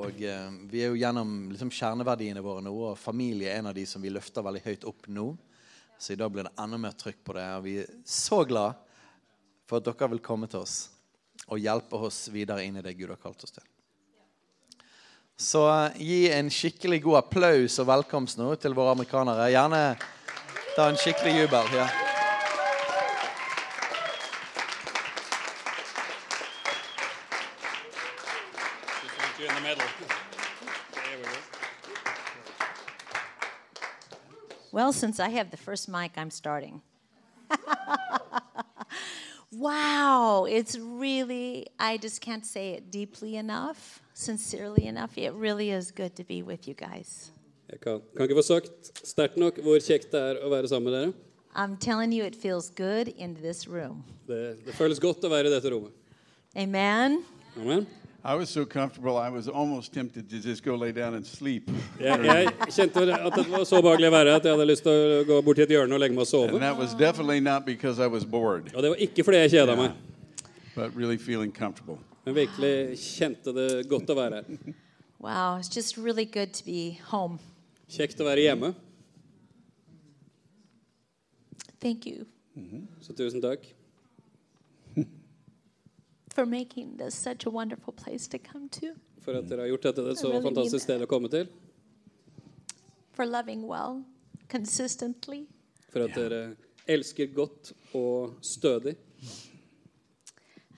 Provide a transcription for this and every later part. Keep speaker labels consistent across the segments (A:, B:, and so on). A: Og eh, vi er jo gjennom liksom, kjerneverdiene våre nå, og familie er en av de som vi løfter veldig høyt opp nå. Så i dag blir det enda mer trykk på det. Og vi er så glad for at dere vil komme til oss og hjelpe oss videre inn i det Gud har kalt oss til. Så eh, gi en skikkelig god applaus og velkomst nå til våre amerikanere. Gjerne ta en skikkelig jubel. Ja.
B: Just want you in the middle. There we go.
C: Well, since I have the first mic, I'm starting. wow, it's really, I just can't say it deeply enough, sincerely enough. It really is good to be with you guys.
D: Jeg kan, kan ikke få sagt sterkt nok hvor kjekt det er å være sammen med dere.
C: I'm telling you, it feels good in this room.
D: Det, det føles godt å være i dette rommet.
C: Amen.
D: Amen.
E: I was so comfortable, I was almost tempted to just go lay down and sleep.
D: Jeg, jeg kjente at det var så behagelig å være at jeg hadde lyst til å gå bort til et hjørne og legge meg og
E: And
D: sove.
E: that was definitely not because I was bored,
D: Og det var ikke fordi jeg kjeda meg,
E: but really feeling comfortable.
D: men virkelig kjente det godt å være her.
C: Wow, it's just really good to be home.
D: Kjekt å være hjemme,
C: Thank you
D: så tusen takk.
C: for making this such a wonderful place to come to,
D: For at dere har gjort dette til et så fantastisk sted å komme til.
C: for loving well, consistently.
D: For at dere elsker godt og stødig.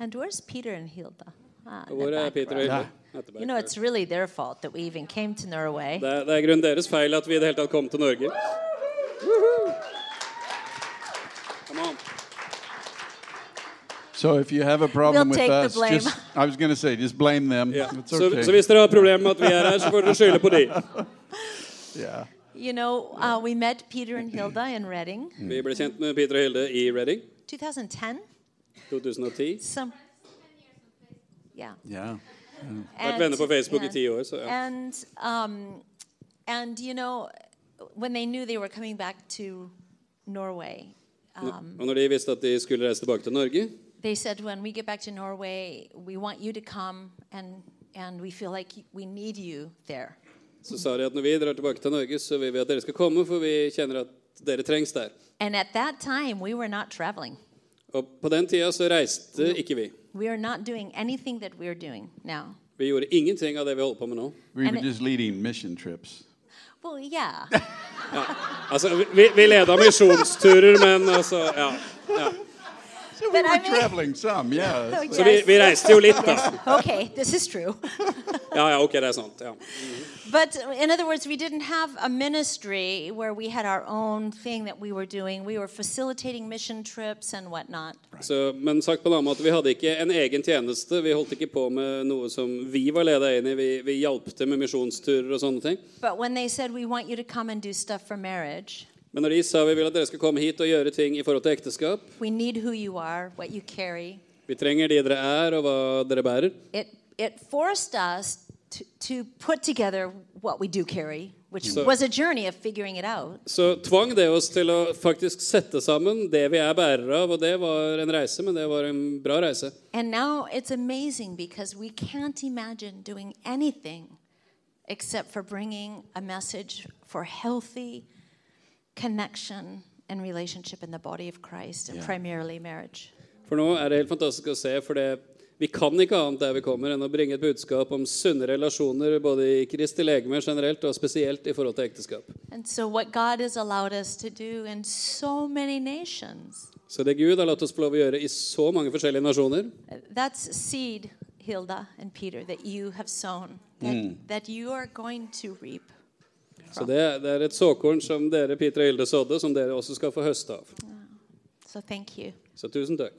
C: And where's Peter and Hilda? Ah, in
D: Og
C: the
D: hvor er
C: back
D: Peter og
C: row.
D: Hilde?
C: You know, it's really their fault that we even came to Norway.
D: Det er, det er grunnen deres feil at vi i det hele tatt kom til Norge. Come on.
E: So if you have a problem
C: We'll
E: with
C: take the
E: us,
C: blame.
E: just, I was going to say, just blame them.
D: Ja.
E: It's
D: Så,
E: okay.
D: så hvis dere har problemer med at vi er her, så får dere skylde på de.
E: yeah.
C: You know, uh, we met Peter and Hilda in Reading,
D: Vi ble kjent med Peter og Hilde i Reading
C: 2010.
D: 2010.
C: Some, yeah.
E: Yeah.
D: Vært venner på Facebook i ti
C: yeah.
D: år, så ja.
C: And um, and you know, when they knew they were coming back to Norway,
D: Og når de visste at de skulle reise tilbake til Norge,
C: they said, "When we get back to Norway, we want you to come, and and we feel like we need you there."
D: så sa de at når vi drar tilbake til Norge, så vil vi at dere skal komme, for vi kjenner at dere trengs der.
C: And at that time, we were not traveling.
D: Og på den tida så reiste ikke vi.
C: We are not doing anything that we're doing now.
D: Vi gjorde ingenting av det vi holder på med nå.
E: We
C: And
E: were
C: it-
E: just leading mission trips.
C: Well, yeah.
D: Altså, vi, vi leda misjonsturer, men altså Ja. ja.
E: So we
C: But
E: were
C: I mean-
E: traveling some, yeah.
C: Yes.
D: Så vi, vi reiste jo litt, da.
C: okay, this is true.
D: Ja, ja, ok, det er sant. Ja.
C: But in other words, we didn't have a ministry where we had our own thing that we were doing. We were facilitating mission trips and whatnot.
D: Så, men sagt på en annen måte, vi hadde ikke en egen tjeneste. Vi holdt ikke på med noe som vi var leda inn i. Vi, vi hjalp til med misjonsturer og sånne ting.
C: But when they said, we want you to come and do stuff for marriage,
D: Men når de sa vi vil at dere skal komme hit og gjøre ting i forhold til ekteskap
C: we need who you are, what you carry,
D: Vi trenger de dere er, og hva dere bærer.
C: it, it forced us to, to put together what we do carry, which
D: So-
C: was a journey of figuring it out.
D: Så tvang det oss til å faktisk sette sammen det vi er bærere av. Og det var en reise, men det var en bra reise.
C: And now it's amazing because we can't imagine doing anything except for bringing a message for healthy connection and relationship in the body of Christ and primarily marriage.
D: For nå er det helt fantastisk å se, for det, Vi kan ikke annet der vi kommer enn å bringe et budskap om sunne relasjoner både i Kristi legeme generelt og spesielt i forhold til ekteskap.
C: And so, what God has allowed us to do in so many nations,
D: Så det Gud har latt oss få lov å gjøre i så mange forskjellige nasjoner,
C: that's seed, Hilda and Peter, that you have sown, that, that you are going to reap.
D: så det, det er et såkorn som dere, Peter og Hilde, sådde, som dere også skal få høste av.
C: So, thank you.
D: Så tusen takk.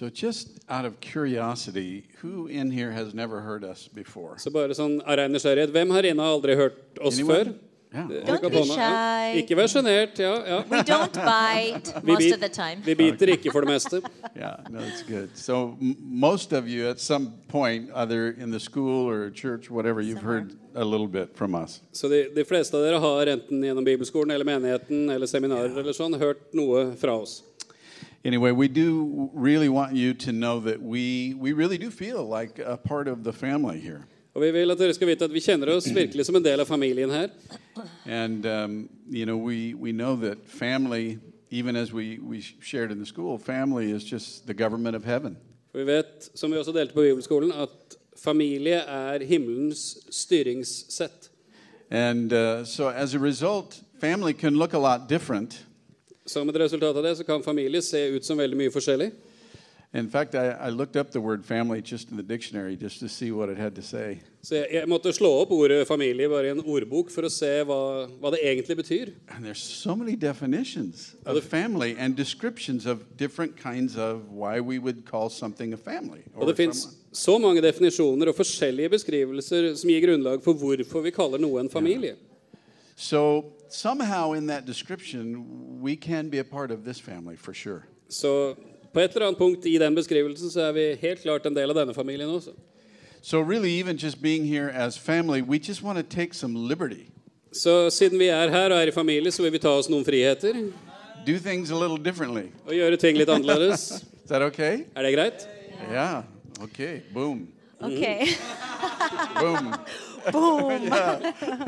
E: So, just out of curiosity, who in here has never heard us before?
D: Så bare sånn av ren nysgjerrighet, hvem her inne har aldri hørt oss før?
E: Anyone? Yeah.
D: Rekk opp
C: be
D: hånda. Ja.
C: shy.
D: Ikke vær sjenert. Ja, ja.
C: We don't bite
D: Vi,
C: most of the time.
D: vi biter ikke for det meste.
E: Yeah, no, that's good. So, m- most of you at some point, either in the school or church, whatever, you've heard a little bit from us.
D: Så de, de fleste av dere har enten gjennom bibelskolen eller menigheten eller seminarer eller sånn hørt noe fra oss.
E: Anyway, we do really want you to know that we, we really do feel like a part of the family here.
D: Og vi vil at dere skal vite at vi kjenner oss virkelig som en del av familien her.
E: And, um, you know, we, we know that family, even as we, we shared in the school, family is just the government of heaven.
D: For vi vet, som vi også delte på bibelskolen, at familie er himmelens styringssett.
E: And uh, so, as a result, family can look a lot different.
D: Som et resultat av det så kan familie se ut som veldig mye forskjellig.
E: In fact, I, I looked up the word family just in the dictionary just to see what it had to say.
D: Så jeg, jeg måtte slå opp ordet familie bare i en ordbok for å se hva, hva det egentlig betyr.
E: And there's so many definitions of family and descriptions of different kinds of why we would call something a family.
D: Og
E: Or
D: det fins
E: someone.
D: så mange definisjoner og forskjellige beskrivelser som gir grunnlag for hvorfor vi kaller noe en familie.
E: So, somehow in that description, we can be a part of this family for sure.
D: Så på et eller annet punkt i den beskrivelsen så er vi helt klart en del av denne familien også.
E: So, really, even just being here as family, we just want to take some liberty,
D: Så siden vi er her og er i familie, så vil vi ta oss noen friheter
E: do things a little differently.
D: og gjøre ting litt annerledes.
E: Is that okay?
D: Er det greit?
E: Yeah. Okay. Boom.
C: Okay.
E: Boom. Oh,
C: Boom.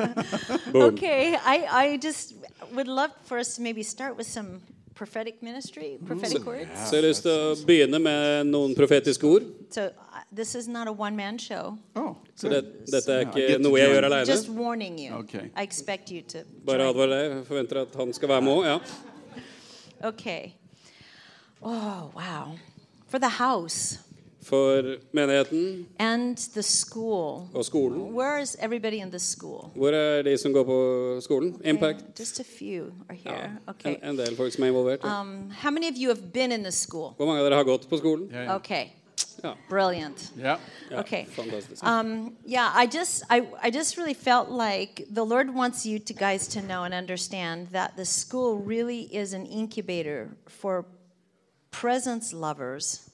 D: Boom.
C: Okay, I, I just would love for us to maybe start with some prophetic ministry, prophetic words.
D: Så jeg har lyst til
E: sånn,
D: å begynne med noen profetiske ord.
C: So uh, this is not a one-man show.
E: Oh.
D: Så det,
E: good.
D: dette er
E: Yeah, I get
D: ikke
E: to
D: noe jeg
E: join.
D: gjør aleine.
C: Just warning you.
E: Okay.
C: I expect you to.
D: Bare
C: join.
D: advar deg. Jeg Forventer at han skal være med òg. Ja.
C: Okay. Oh wow, for the house
D: For menigheten
C: and the school.
D: og skolen.
C: Where is everybody in the school?
D: Hvor er de som går på skolen? Impact?
C: Okay, Just a few are
E: Oh,
C: here.
D: En,
C: Okay.
D: en del folk som er involvert. Ja.
C: Um, how many of you have been in the school?
D: Hvor mange av dere har gått på skolen?
E: Yeah. yeah.
C: Okay.
D: Ja.
C: Brilliant.
E: Yeah.
C: Okay.
D: Fantastisk.
C: Um, yeah, I just I, I just really felt like the Lord wants you to guys to know and understand that the school really is an incubator for presence lovers.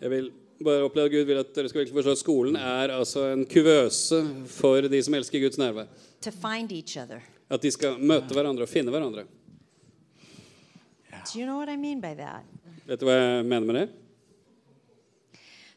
D: Jeg vil bare oppleve at Gud vil at dere skal virkelig forstå at skolen er altså en kuvøse for de som elsker Guds nærvær.
C: To find each other.
D: At de skal møte hverandre og finne hverandre.
C: Do you know what I mean by that?
D: Vet du hva jeg mener med det?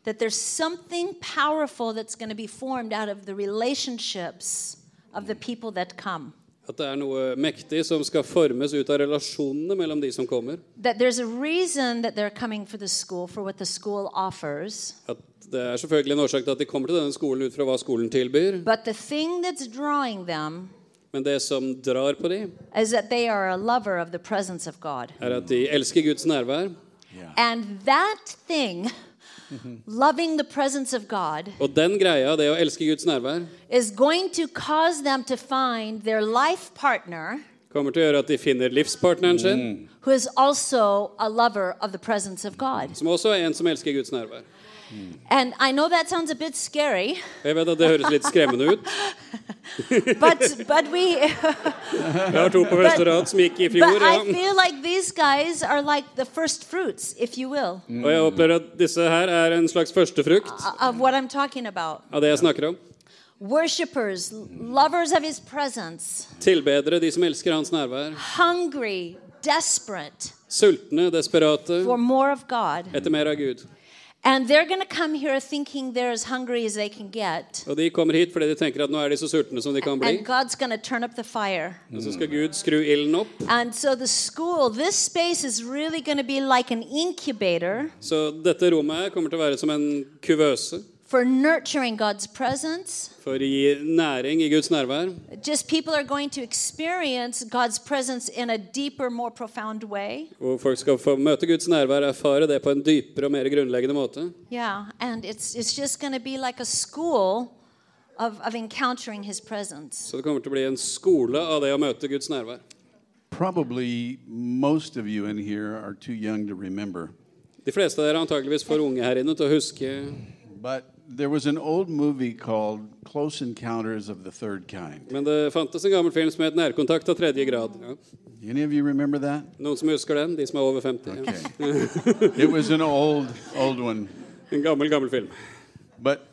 C: That there's something powerful that's going to be formed out of the relationships of the people that come.
D: At det er noe mektig som skal formes ut av relasjonene mellom de som kommer.
C: That there's a reason that they're coming for the school, for what the school offers.
D: At det er selvfølgelig en årsak til at de kommer til denne skolen ut fra hva skolen tilbyr.
C: But the thing that's drawing them
D: Men det som drar på dem,
C: is that they are a lover of the presence of God.
D: er at de elsker Guds nærvær.
C: And that thing, loving the presence of God,
D: Og den greia, det å elske Guds nærvær,
C: is going to cause them to find their life partner
D: kommer til å gjøre at de finner livspartneren sin,
C: who is also a lover of the presence of God.
D: som også er en som elsker Guds nærvær.
C: And I know that sounds a bit scary,
D: Og Jeg vet at det høres litt skremmende ut.
C: but but we
D: Jeg har to på første rad som gikk i
C: but
D: fjor.
C: I
D: ja.
C: feel like these guys are like the first fruits, if you will,
D: Og jeg opplever at disse her er en slags førstefrukt
C: of what I'm talking about.
D: av det jeg snakker om.
C: Worshippers, lovers of his presence,
D: Tilbedere, de som elsker hans nærvær.
C: hungry, desperate
D: Sultne, desperate,
C: for more of God.
D: etter mer av Gud.
C: And they're going to come here thinking they're as hungry as they can get.
D: Og de kommer hit fordi de tenker at nå er de så sultne som de kan bli.
C: And God's going to turn up the fire.
D: Og så skal Gud skru ilden opp.
C: And so the school, this space is really going to be like an incubator
D: Så dette rommet her kommer til å være som en kuvøse
C: for nurturing God's presence.
D: for å gi næring i Guds nærvær.
C: Just people are going to experience God's presence in a deeper, more profound way.
D: Hvor folk skal få møte Guds nærvær og erfare det på en dypere og mer grunnleggende måte.
C: Yeah, and it's it's just going to be like a school of of encountering his presence.
D: Så det kommer til å bli en skole av det å møte Guds nærvær.
E: Probably most of you in here are too young to remember,
D: De fleste av dere er antakeligvis for unge her inne til å huske
E: but there was an old movie called Close Encounters of the Third Kind.
D: Men det fantes en gammel film som het 'Nærkontakt av tredje grad'. Ja.
E: Any of you remember that?
D: Noen som husker den? De som er over 50? Ja.
E: it was an old, old one.
D: En gammel, gammel film.
E: But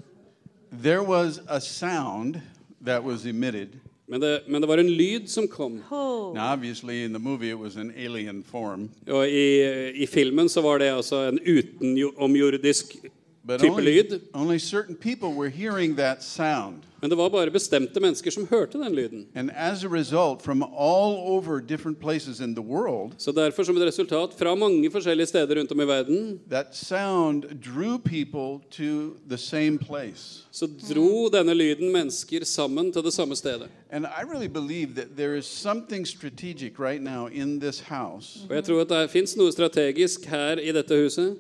E: there was a sound that was emitted.
D: Men det, men det var en lyd som kom.
C: Oh,
E: Now, obviously, in the movie, it was an alien form,
D: Og i, i filmen så var det altså en utenomjordisk
E: but
D: type lyd.
E: only, only certain people were hearing that sound.
D: Men det var bare bestemte mennesker som hørte den lyden.
E: And as a result, from all over different places in the world,
D: Så derfor, som et resultat fra mange forskjellige steder rundt om i verden,
E: that sound drew people to the same place.
D: så dro denne lyden mennesker sammen til det samme stedet.
E: And I really believe that there is something strategic right now in this house,
D: Og jeg tror at det fins noe strategisk her i dette huset.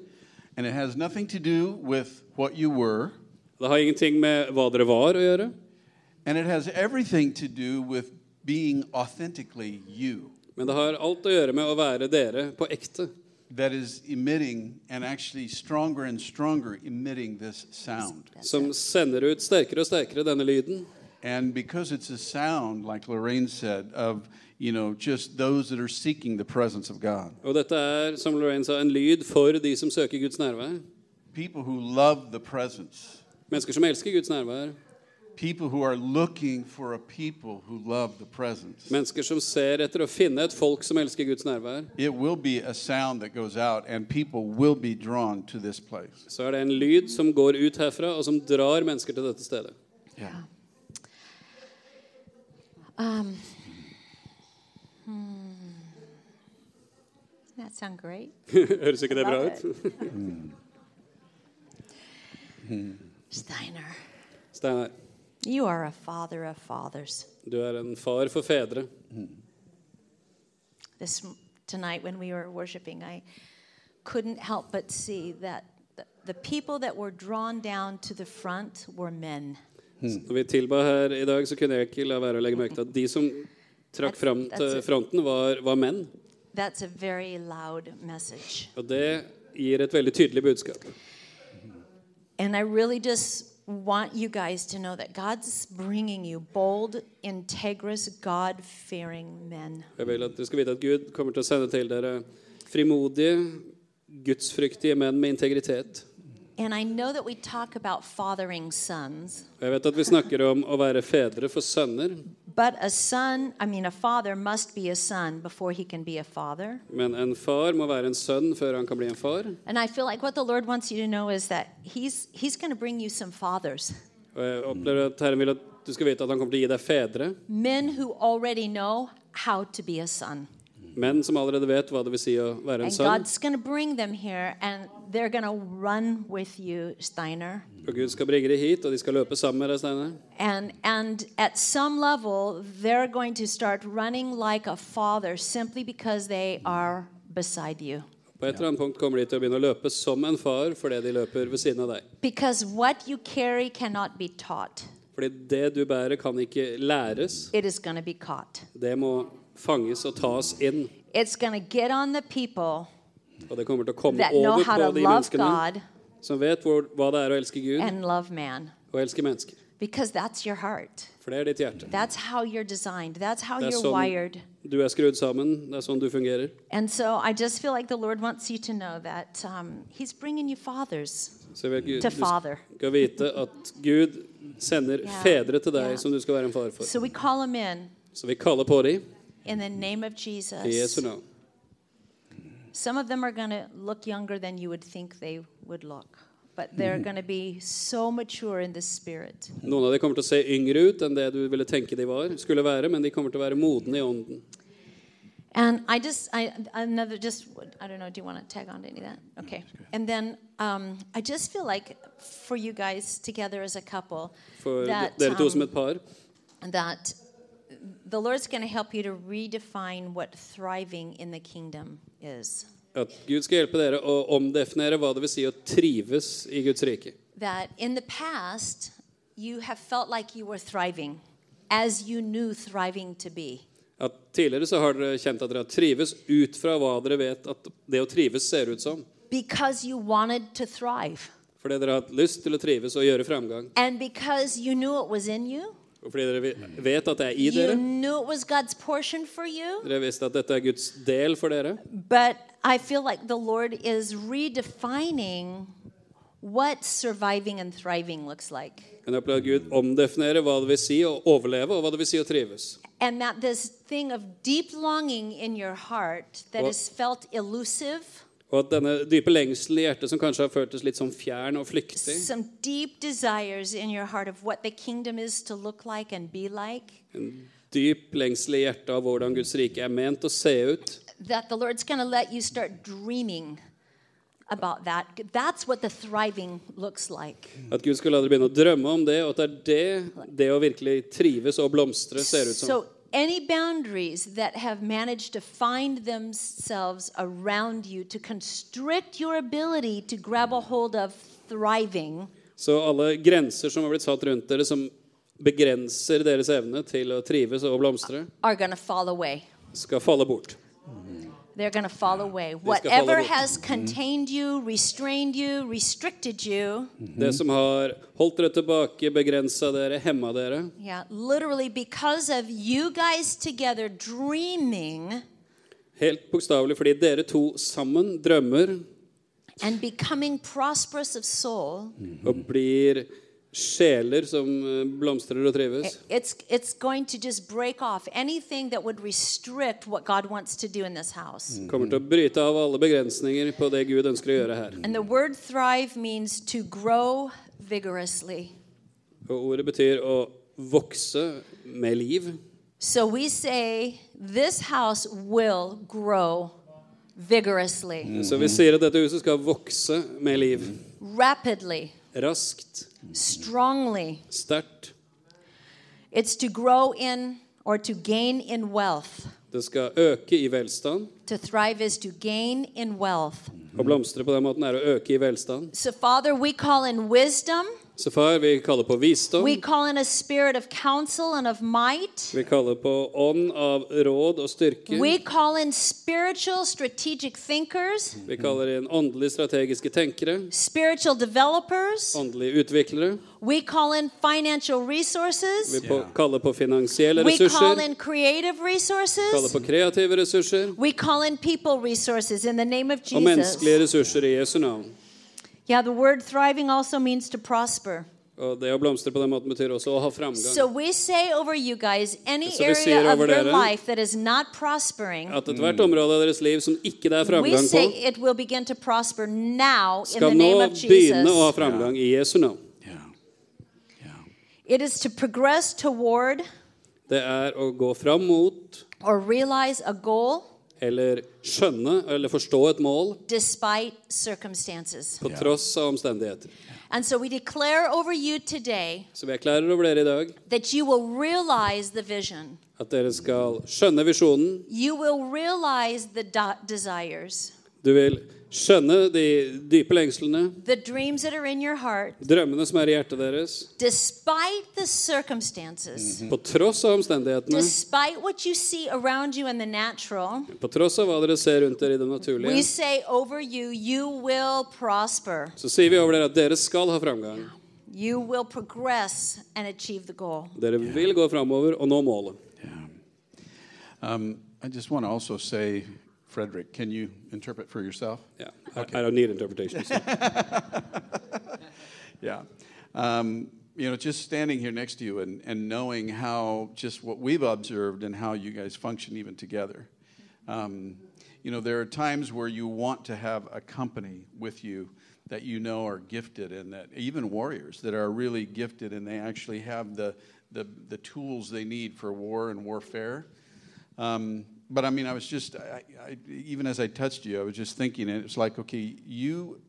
E: and it has nothing to do with what you were,
D: Det har ingenting med hva dere var å gjøre,
E: and it has everything to do with being authentically you
D: men det har alt å gjøre med å være dere på ekte.
E: that is emitting and actually stronger and stronger emitting this sound.
D: Som sender ut sterkere og sterkere denne lyden.
E: And because it's a sound, like Lorraine said, of you know just those that are seeking the presence of God,
D: Og dette er, som Lorraine sa, en lyd for de som søker Guds nærvær.
E: people who love the presence,
D: Mennesker som elsker Guds nærvær.
E: people who are looking for a people who love the presence.
D: Mennesker som ser etter å finne et folk som elsker Guds nærvær.
E: It will be a sound that goes out, and people will be drawn to this place.
D: Så er det en lyd som går ut herfra, og som drar mennesker til dette stedet.
E: Yeah.
C: that sound great.
D: Høres ikke det bra
C: Love
D: ut?
C: Steiner,
D: Steinar,
C: you are a father of fathers.
D: du er en far for fedre.
C: This m- tonight when we were worshiping, I couldn't help but see that the, the people that were drawn down to the front were men.
D: Så Når vi tilba her i dag, så kunne jeg ikke la være å legge merke til at de som trakk fram til
C: That's- that's it.
D: fronten, var, var menn.
C: That's a very loud message.
D: Og det gir et veldig tydelig budskap.
C: And I really just want you guys to know that God's bringing you bold, integrous, God fearing men.
D: Jeg vil at dere skal vite at Gud kommer til å sende til dere frimodige, gudsfryktige menn med integritet.
C: And I know that we talk about fathering sons,
D: Og Jeg vet at vi snakker om å være fedre for sønner,
C: but a son, I mean, a father must be a son before he can be a father.
D: men en far må være en sønn før han kan bli en far.
C: And I feel like what the Lord wants you to know is that He's, he's going to bring you some fathers,
D: Og jeg opplever at Herren vil at du skal vite at han kommer til å gi deg fedre,
C: men who already know how to be a son.
D: menn som allerede vet hva det vil si å være en
C: And
D: sønn.
C: God's going to bring them here, and they're going to run with you, Steiner.
D: Og Gud skal bringe deg hit, og de skal løpe sammen med deg, Steinar.
C: And and at some level they're going to start running like a father simply because they are beside you.
D: På et eller annet punkt kommer de til å begynne å løpe som en far fordi de løper ved siden av deg.
C: Because what you carry cannot be taught.
D: Fordi det du bærer, kan ikke læres.
C: It is going to be caught.
D: Det må fanges og tas inn.
C: It's going to get on the people
D: Og det kommer til å komme
C: that know
D: over
C: how
D: på
C: to
D: de
C: love
D: menneskene
C: God
D: som vet hvor, hva det er å elske Gud
C: and love man
D: og elske mennesker.
C: because that's your heart.
D: For det er ditt hjerte.
C: That's how you're designed. That's how
D: That's
C: you're
D: some-
C: wired.
D: Du er skrudd sammen. Det er sånn du fungerer.
C: And so I just feel like the Lord wants you to know that um, He's bringing you fathers
D: Så jeg vil at Gud,
C: to
D: du
C: father.
D: skal vite at Gud sender
C: Yeah.
D: fedre til deg
C: Yeah.
D: som du skal være en far for.
C: So we call them in
D: Så vi kaller på dem
C: in the name of Jesus.
D: i Jesu navn.
C: Some of them are going to look younger than you would think they would look. but they're
D: Mm-hmm.
C: going to be so mature in the spirit.
D: Noen av de kommer til å se yngre ut enn det du ville tenke de var, skulle være, men de kommer til å være modne i ånden.
C: And I just, I another, just, I don't know. Do you want to tag on to any of that? Okay. And then um, I just feel like for you guys together as a couple,
D: For
C: that
D: dere to
C: um,
D: som et par.
C: that the Lord's going to help you to redefine what thriving in the kingdom is.
D: At Gud skal hjelpe dere å omdefinere hva det vil si å trives i Guds rike.
C: That in the past you have felt like you were thriving, as you knew thriving to be.
D: At tidligere så har dere kjent at dere har trives ut fra hva dere vet at det å trives ser ut som.
C: because you wanted to thrive
D: Fordi dere har hatt lyst til å trives og gjøre framgang.
C: and because you knew it was in you
D: Og fordi dere vi- vet at det er i
C: you
D: dere.
C: knew it was god's portion for you
D: Dere visste at dette er Guds del for dere.
C: but i feel like the lord is redefining what surviving and thriving looks like
D: Men jeg opplever at Gud omdefinerer hva det vil si å overleve, og hva det vil si å trives.
C: and that this thing of deep longing in your heart that
D: Well-
C: is felt elusive
D: Og at denne dype lengselen i hjertet som kanskje har føltes litt sånn fjern og flyktig,
C: some deep desires in your heart of what the kingdom is to look like and be like
D: dyp lengsel i hjertet av hvordan Guds rike er ment å se ut,
C: that the Lord's going to let you start dreaming about that. That's what the thriving looks like.
D: at Gud skal la dere begynne å drømme om det, og at det er det det å virkelig trives og blomstre ser ut som.
C: So, any boundaries that have managed to find themselves around you to constrict your ability to grab a hold of thriving,
D: Så alle grenser som har blitt satt rundt dere, som begrenser deres evne til å trives og blomstre,
C: are going to fall away.
D: skal falle bort.
C: They're going to fall away.
D: fall
C: Whatever
D: away. Mm-hmm.
C: has contained you, restrained you, restricted you,
D: Det som har holdt dere tilbake, begrensa dere, hemma dere,
C: yeah, literally because of you guys together dreaming.
D: helt bokstavelig fordi dere to sammen drømmer
C: and becoming prosperous of soul,
D: og blir sjeler som eh, blomstrer og trives.
C: it's it's going to just break off anything that would restrict what God wants to do in this house.
D: Kommer til å bryte av alle begrensninger på det Gud ønsker å gjøre her.
C: And the word thrive means to grow vigorously.
D: Og ordet betyr å vokse med liv.
C: So we say this house will grow vigorously,
D: Så vi sier at dette huset skal vokse med liv.
C: Mhm. rapidly,
D: Raskt,
C: strongly.
D: sterkt.
C: It's to grow in or to gain in wealth.
D: Det skal øke i velstand.
C: To thrive is to gain in wealth.
D: Å blomstre på den måten er å øke i velstand.
C: So Father, we call in wisdom
D: Så far, vi kaller på visdom.
C: We call in a spirit of counsel and of might.
D: Vi kaller på ånd av råd og styrke.
C: We call in spiritual strategic thinkers,
D: Vi kaller inn åndelig strategiske tenkere.
C: spiritual developers.
D: Åndelige utviklere.
C: We call in financial
D: Vi
C: resources.
D: på, kaller på finansielle
C: We call
D: ressurser.
C: in creative
D: Kaller
C: resources.
D: på kreative ressurser.
C: We call in people resources in the name of
D: Og menneskelige
C: Jesus.
D: ressurser i Jesu navn.
C: Yeah, the word thriving also means to prosper.
D: Og det å blomstre på den måten betyr også å ha framgang.
C: So we say over you guys any
D: Så vi sier
C: area of
D: over
C: your
D: dere-
C: life that is not prospering,
D: At ethvert område av deres liv som ikke det er
C: we
D: framgang på,
C: say it will begin to prosper now in the
D: skal nå
C: name of
D: begynne å ha
C: Jesus.
D: framgang i Jesu navn.
E: Yeah. Yeah.
C: It is to progress toward
D: Det er å gå fram mot,
C: or realize a goal
D: eller skjønne, eller forstå et mål
C: despite circumstances.
D: på tross av omstendigheter.
C: And so we declare over you today
D: Så vi erklærer over dere i dag
C: that you will realize the vision,
D: at dere skal skjønne visjonen.
C: you will realize the do- desires,
D: Du vil skjønne de dype lengslene,
C: the dreams that are in your heart,
D: drømmene som er i hjertet deres,
C: despite the circumstances.
D: på tross av omstendighetene,
C: Despite what you see around you in the natural,
D: på tross av hva dere ser rundt dere i det naturlige.
C: we say over you, you will prosper.
D: Så sier vi over dere at dere skal ha framgang.
C: You will progress and achieve the goal.
D: Dere vil gå framover og nå målet.
E: Um, I just want to also say, Frederick, can you interpret for yourself?
D: Yeah. I, I don't need interpretation. so.
E: Yeah. Um, you know, just standing here next to you and, and knowing how just what we've observed and how you guys function even together. Um, you know, there are times where you want to have a company with you that you know are gifted and that even warriors that are really gifted and they actually have the, the, the tools they need for war and warfare. Um, but I mean, I was just, I, I, even as I touched you, I was just thinking, and it's like, okay, you,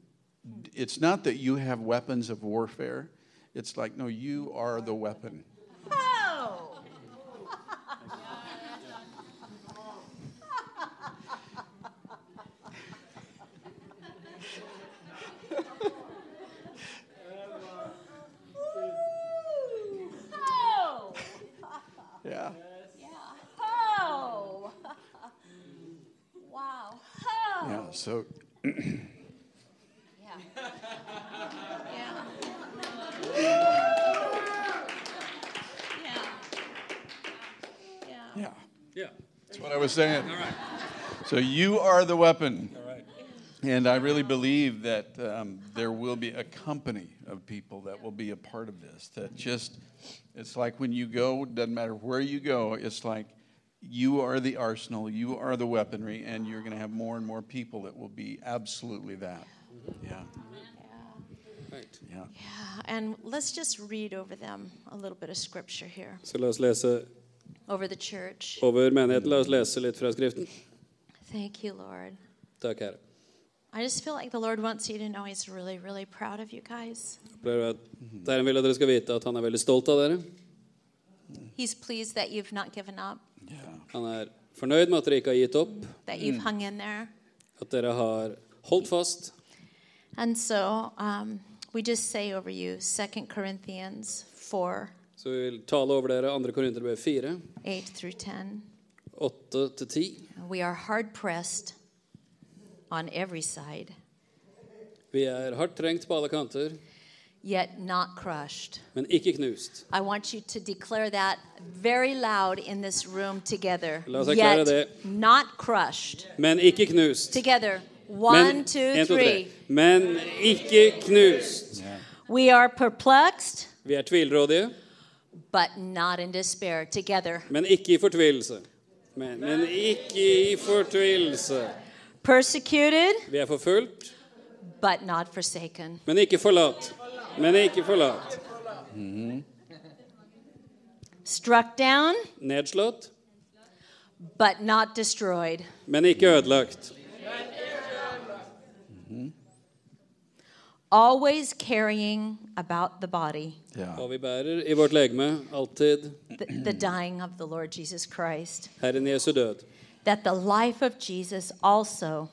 E: it's not that you have weapons of warfare. It's like, no, you are the weapon.
C: Oh! Ooh. Oh!
E: Yeah.
C: Yeah. Oh! wow. Oh!
E: Yeah. So,
C: Yeah. yeah. yeah. Yeah.
E: yeah.
D: Yeah.
E: That's what I was saying.
D: All right.
E: So you are the weapon.
D: All right.
E: And I really believe that um, there will be a company of people that will be a part of this. That just, it's like when you go, doesn't matter where you go, it's like you are the arsenal, you are the weaponry, and you're going to have more and more people that will be absolutely that. Yeah,
D: Right.
E: yeah.
C: And let's just read over them a little bit of scripture here,
D: Så la oss lese
C: over the church.
D: over menigheten. La oss lese litt fra Skriften.
C: Thank you, Lord.
D: Takk, Herre.
C: I just feel like the Lord wants you to know He's really, really proud of you guys.
D: Jeg opplever at Herren vil at dere skal vite at han er veldig stolt av dere.
C: He's pleased that you've not given up,
E: yeah.
D: Han er fornøyd med at dere ikke har gitt opp,
C: that you've hung in there.
D: at dere har holdt fast.
C: And so um, we just say over you, 2 Corinthians 4
D: Så vi vil tale over dere 2. Korinterbrev 4,
C: 8 through 10.
D: 8-10.
C: We are hard pressed on every side,
D: Vi er hardt trengt på alle kanter,
C: yet not crushed.
D: men ikke knust.
C: I want you to declare that very loud in this room together.
D: La oss erklære det.
C: Yet not crushed.
D: Men ikke knust.
C: Together. One,
D: Men-
C: two,
D: en, to, tre.
C: three.
D: Men ikke knust.
C: We are perplexed,
D: Vi er tvilrådige,
C: but not in despair. Together.
D: men ikke i fortvilelse. Men, men ikke i fortvilelse.
C: Persecuted,
D: Vi er forfulgt,
C: but not forsaken.
D: men ikke forlatt. Men ikke forlatt.
C: Struck down,
D: Nedslått,
C: but not destroyed.
D: men ikke ødelagt.
C: Always carrying about the body
E: yeah.
D: Og vi bærer i vårt legeme alltid
C: the, the dying of the Lord Jesus Christ.
D: Herren Jesu død,
C: That the life of Jesus also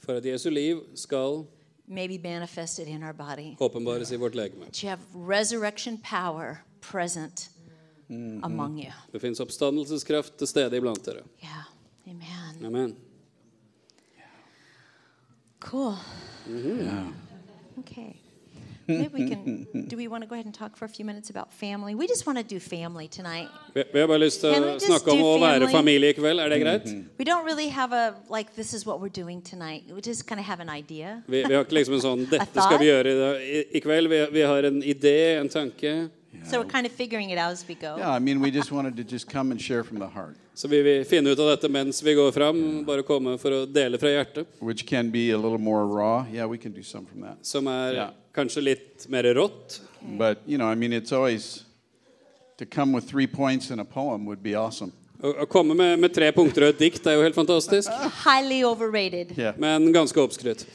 D: for at Jesu liv skal
C: may be manifested in our body.
D: åpenbares i vårt legeme.
C: that you have resurrection power present among you.
D: Det fins oppstandelseskraft til stede iblant dere.
C: Yeah. Amen.
D: Amen.
C: Cool. Okay. Maybe we can. do we want to go ahead and talk for a few minutes about family? We just want to do family tonight.
D: Vi, vi har bare lyst til
C: Can
D: å
C: we just
D: snakke om
C: do
D: å være
C: family?
D: familie i kveld. Er det greit?
C: We don't really have a, like, this is what we're doing tonight. We just kind of have an idea.
D: Vi, vi har ikke liksom en sånn 'dette skal
C: thought?
D: vi gjøre i, dag- i, i kveld'. Vi, vi har en idé, en tanke.
C: So we're kind of figuring it out as we go.
E: Yeah, I mean, we just wanted to just come and share from the heart,
D: Så vi vil finne ut av dette mens vi går fram. Bare komme for å dele fra hjertet.
E: which can be a little more raw. Yeah, we can do some from that.
D: Som er
E: Ja.
D: kanskje litt mer rått.
E: But, you know, I mean, it's always to come with three points in a poem would be awesome.
D: Å, å komme med, med tre punkter og et dikt er jo helt fantastisk,
C: Highly overrated.
E: Yeah.
D: men ganske oppskrytt.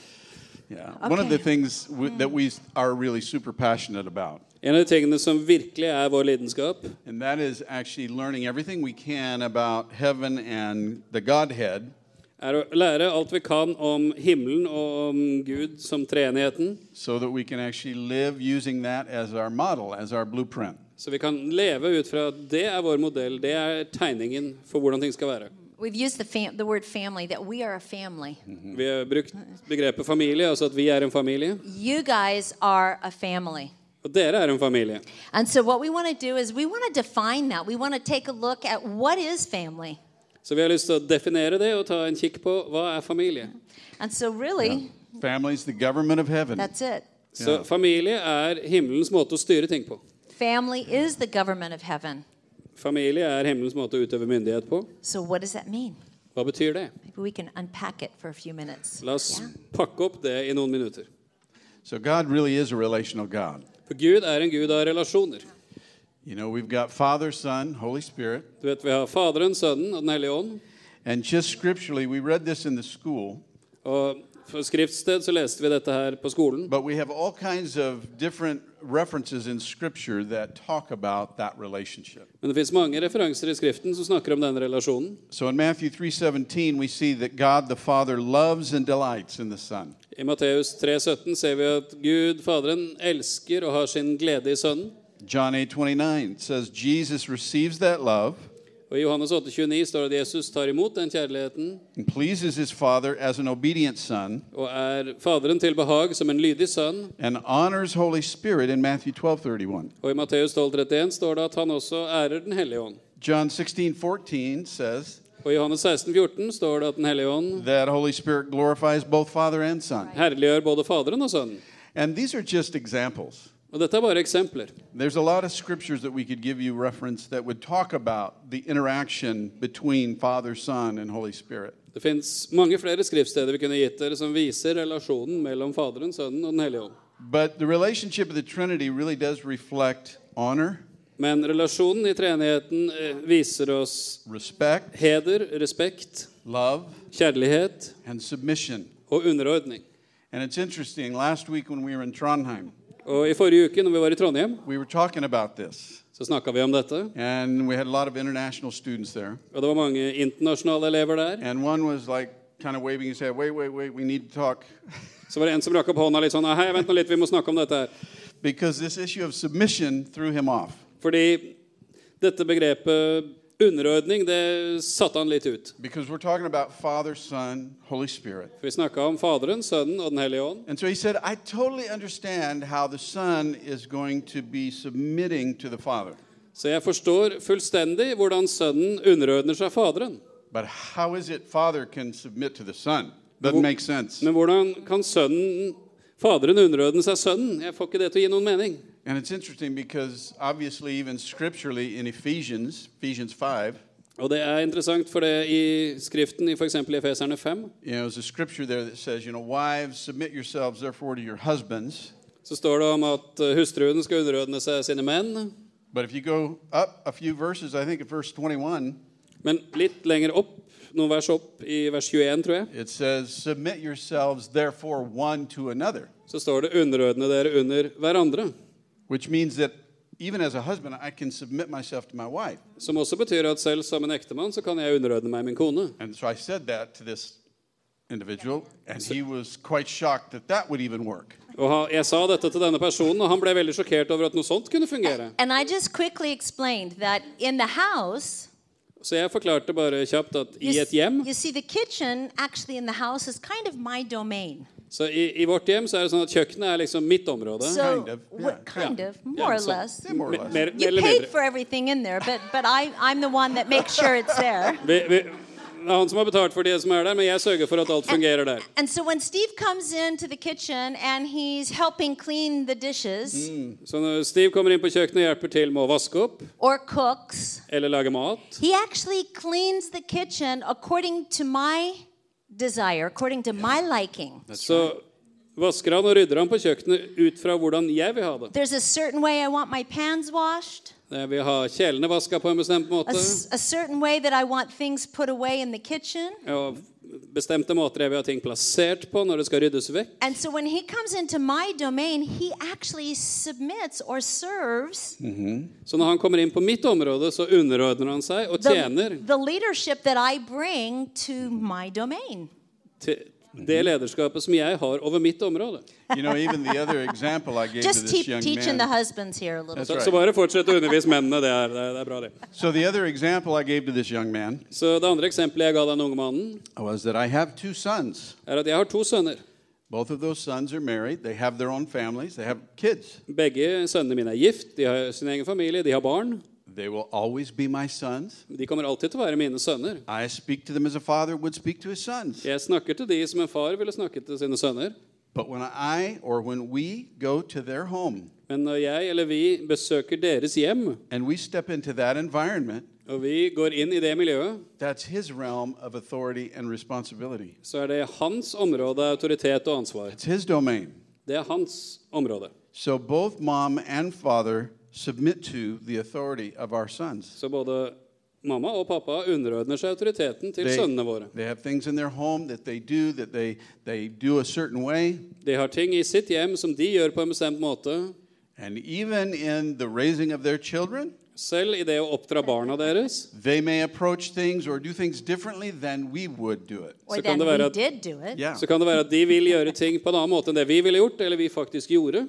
E: Yeah. One of
C: Okay. Hmm.
E: the things w- that we s- are really super passionate about,
D: En av de tingene som virkelig er vår lidenskap,
E: and that is actually learning everything we can about heaven and the Godhead
D: er å lære alt vi kan om himmelen og om Gud som treenigheten,
E: so that we can actually live using that as our model, as our blueprint.
D: så vi kan leve ut fra at det er vår modell, det er tegningen for hvordan ting skal være.
C: We've used the, fam- the word family, that we are a family.
E: Mm-hmm.
D: Vi har brukt begrepet familie, altså at vi er en familie,
C: You guys are a family.
D: og dere er en familie.
C: And so what we want to do is we want to define that. We want to take a look at what is family.
D: Så vi har lyst til å definere det og ta en kikk på hva er familie.
C: And so really,
E: Families, the government of heaven.
C: that's it.
D: Så
E: Ja.
D: familie er himmelens måte å styre ting på.
C: Family is the government of heaven.
D: Familie er himmelens måte å utøve myndighet på.
C: So what does that mean?
D: Hva betyr det?
C: Maybe we can unpack it for a few minutes.
D: La oss
C: Yeah.
D: pakke opp det i noen minutter.
E: So God really is a relational God.
D: For Gud er en gud av relasjoner.
E: You know, we've got Father, Son, Holy Spirit,
D: Du vet, Vi har Faderen, Sønnen og Den hellige ånd.
E: and just scripturally, we read this in the school,
D: Og for skriftsted så leste vi dette her på skolen.
E: but we have all kinds of different references in scripture that talk about that relationship.
D: Men det fins mange referanser i Skriften som snakker om denne relasjonen.
E: So in Matthew 3:17, we see that God the Father loves and delights in the Son.
D: I Matteus 3,17 ser vi at Gud, Faderen, elsker og har sin glede i Sønnen.
E: John 8:29 says Jesus receives that love
D: Og I Johannes 8,29 står det at Jesus tar imot den kjærligheten
E: and pleases his Father as an obedient son
D: og er Faderen til behag som en lydig sønn.
E: and honors Holy Spirit in Matthew 12:31.
D: Og i Matteus 12,31 står det at han også ærer Den hellige ånd.
E: John 16:14 says
D: Og i Johannes 16,14 står det at Den hellige ånd
E: that Holy Spirit glorifies both Father and Son.
D: herliggjør både Faderen og Sønnen.
E: And these are just examples.
D: Og dette er bare eksempler.
E: There's a lot of scriptures that we could give you reference that would talk about the interaction between Father, Son, and Holy Spirit.
D: Det fins mange flere skriftsteder vi kunne gitt dere som viser relasjonen mellom Faderen, Sønnen og Den hellige ånd.
E: But the relationship of the Trinity really does reflect honor,
D: Men relasjonen i treenigheten eh, viser oss
E: respect,
D: heder, respekt,
E: love,
D: kjærlighet
E: and submission.
D: og underordning.
E: And it's interesting, last week when we were in Trondheim,
D: Og I forrige uke når vi var i Trondheim,
E: we were talking about this.
D: så snakka vi om dette.
E: And we had a lot of international students there.
D: Og det var mange internasjonale elever der.
E: And one was like kind of waving his head, wait, wait, wait, we need to talk.
D: Så var det en som rakk opp hånda litt sånn Hei, vent nå litt, vi må snakke om dette her.
E: Because this issue of submission threw him off.
D: Fordi dette begrepet underordning, det satte han litt ut.
E: Because we're talking about Father, Son, Holy Spirit.
D: For vi snakka om Faderen, Sønnen og Den hellige ånd.
E: And so he said, I totally understand how the Son is going to be submitting to the Father.
D: Så jeg forstår fullstendig hvordan Sønnen underordner seg Faderen.
E: But how is it Father can submit to the Son? Doesn't make sense.
D: Men hvordan kan Sønnen Faderen underordne seg Sønnen? Jeg får ikke det til å gi noen mening.
E: And it's interesting because obviously, even scripturally in Ephesians, Ephesians 5,
D: Og det er interessant, for det i Skriften, i f.eks. Efeserne 5,
E: you know, there's a scripture there that says, you know, wives, submit yourselves therefore to your husbands.
D: så står det om at eh, hustruen skal underordne seg sine menn.
E: But if you go up a few verses, I think at verse 21,
D: Men litt lenger opp, noen vers opp, i vers 21, tror jeg,
E: it says, submit yourselves therefore one to another,
D: så står det 'underordne dere under hverandre'.
E: which means that even as a husband, I can submit myself to my wife.
D: Som også betyr at selv som en ektemann så kan jeg underordne meg min kone.
E: And so I said that to this individual, and he was quite shocked that that would even work.
D: Og ha- jeg sa dette til denne personen, og han ble veldig sjokkert over at noe sånt kunne fungere.
C: And I just quickly explained that in the house,
D: Så jeg forklarte bare kjapt at
C: you,
D: i
C: s-
D: et hjem
C: you see, the kitchen actually in the house is kind of my domain.
D: Så i, i vårt hjem så er det sånn at kjøkkenet er liksom mitt område.
C: So,
E: Kind of,
C: what-
E: yeah.
C: kind
D: Yeah.
C: of, more
D: Yeah,
C: or
D: so-
C: less.
E: More or
D: Me-
E: less.
D: Mer, mer
C: You
D: eller
C: paid
D: mindre.
C: for everything in there, but but I I'm the one that makes sure it's there.
D: Vi, vi, det er han som har betalt for det som er der, men jeg sørger for at alt fungerer der.
C: And so when Steve comes into the kitchen and he's helping clean the dishes
D: Så når Steve kommer inn på kjøkkenet og hjelper til med å vaske opp
C: or cooks,
D: eller lage mat,
C: he actually cleans the kitchen according to my desire, according to my liking.
D: så vasker han og rydder han på kjøkkenet ut fra hvordan jeg vil ha det.
C: There's a certain way I want my pans washed,
D: Jeg vil ha kjelene vaska på en bestemt
C: a,
D: måte.
C: s- a certain way that I want things put away in the kitchen.
D: Og bestemte måter jeg vil ha ting plassert på når det skal ryddes vekk.
C: And so when he comes into my domain, he actually submits or serves
E: Hmm.
D: Så når han kommer inn på mitt område, så underordner han seg og tjener
C: the, the leadership that I bring to
E: Mm-hmm.
C: my domain.
D: til det
E: Mhm.
D: lederskapet som jeg har over mitt område.
E: You know, even the other example I gave to
C: Just
E: this
C: te-
E: young
C: teaching
E: man.
C: the husbands here a little
E: That's
D: Så,
E: right.
D: så bare fortsett å undervise mennene. Det er, det er, det er bra, det.
E: So the other example I gave to this young man
D: Så det andre eksempelet jeg ga den unge mannen,
E: was that I have two sons.
D: er at jeg har to sønner.
E: Both of those sons are married. They have their own families. They have kids.
D: Begge sønnene mine er gift, de har sin egen familie, de har barn.
E: They will always be my sons.
D: De kommer alltid til å være mine sønner.
E: I speak to them as a father would speak to his sons.
D: Jeg snakker til de som en far ville snakke til sine sønner.
E: But when I or when we go to their home
D: Men når jeg eller vi besøker deres hjem,
E: and we step into that environment,
D: og vi går inn i det miljøet,
E: that's his realm of authority and responsibility.
D: så er det hans område av autoritet og ansvar.
E: It's his domain.
D: Det Det er hans område.
E: So both mom and father submit to the authority of our sons.
D: Så både mamma og pappa underordner seg autoriteten til
E: They,
D: sønnene våre.
E: they have things in their home that they do that they, they do a certain way.
D: De har ting i sitt hjem som de gjør på en bestemt måte.
E: And even in the raising of their children,
D: Selv i det å oppdra barna deres,
E: they may approach things or do things differently than we would do it.
C: Or
D: Så kan
C: then
D: det være
C: we
D: at-
C: did do it.
E: Yeah.
D: så kan det være at de vil gjøre ting på en annen måte enn det vi ville gjort, eller vi faktisk gjorde.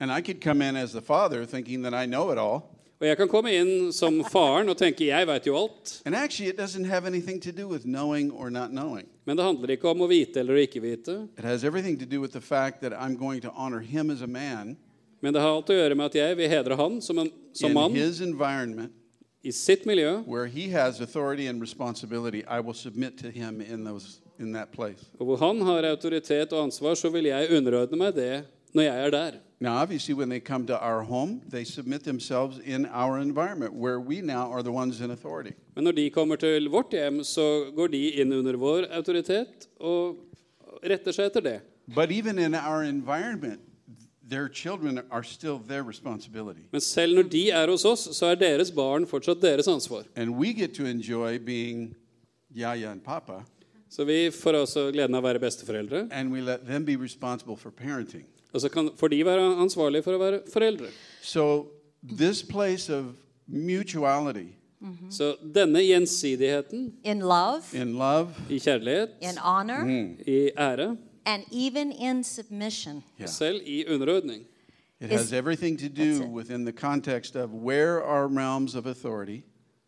E: And I could come in as the father thinking that I know it all.
D: Og jeg kan komme inn som faren og tenke 'jeg veit jo alt',
E: And actually, it doesn't have anything to do with knowing or not knowing.
D: men det handler ikke om å vite eller ikke vite.
E: It has everything to do with the fact that I'm going to honor him as a man
D: Men det har alt å gjøre med at jeg vil hedre han som, en, som
E: in
D: mann
E: his environment
D: i sitt miljø,
E: where he has authority and responsibility. I will submit to him in those in that place.
D: og hvor han har autoritet og ansvar, så vil jeg underordne meg det når jeg er der.
E: Now, obviously, when they come to our home, they submit themselves in our environment where we now are the ones in authority.
D: Men når de kommer til vårt hjem, så går de inn under vår autoritet og retter seg etter det.
E: But even in our environment, their children are still their responsibility.
D: Men selv når de er hos oss, så er deres barn fortsatt deres ansvar.
E: And we get to enjoy being Yaya and Papa,
D: Så vi får altså gleden av å være besteforeldre.
E: and we let them be responsible for parenting.
D: Og så kan, får de være ansvarlige for å være foreldre.
E: So, this place of mutuality
D: Så denne gjensidigheten
C: In love,
E: in love,
D: i kjærlighet,
C: in honor,
E: Mm-hmm.
D: i ære,
C: and even in submission.
E: Yeah.
D: selv i underordning,
E: it
C: Is-
E: has everything to
C: That's
E: do
C: it.
E: within the context of where are realms of authority,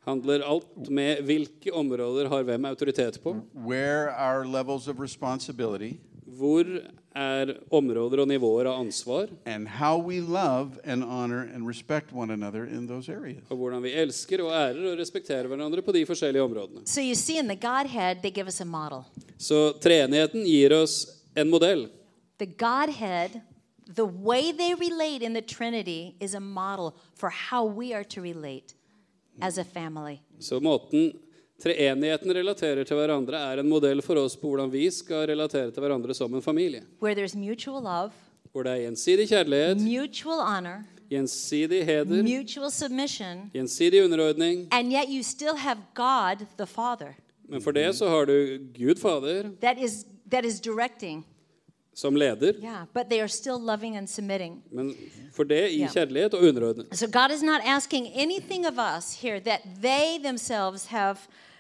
D: handler alt med hvilke områder har hvem autoritet på.
E: where are levels of responsibility,
D: Hvor er områder og nivåer av ansvar?
E: and how we love and honor and respect one another in those areas.
D: Og hvordan vi elsker og ærer og respekterer hverandre på de forskjellige områdene.
C: So you see, in the Godhead, they give us a model.
D: Så treenigheten gir oss en modell.
C: The Godhead, the way they relate in the Trinity, is a model for how we are to relate as a family.
D: Så måten treenigheten relaterer til hverandre, er en modell for oss på hvordan vi skal relatere til hverandre som en familie.
C: Where there's mutual love,
D: Hvor det er gjensidig kjærlighet,
C: mutual honor,
D: gjensidig heder,
C: mutual submission,
D: gjensidig underordning.
C: and yet you still have God the Father
D: Men for det så har du Gud Fader
C: that is that is directing.
D: som leder.
C: Yeah, but they are still loving and submitting.
D: Men for det i
C: Ja.
D: kjærlighet og underordning.
C: So God is not asking anything of us here that they themselves have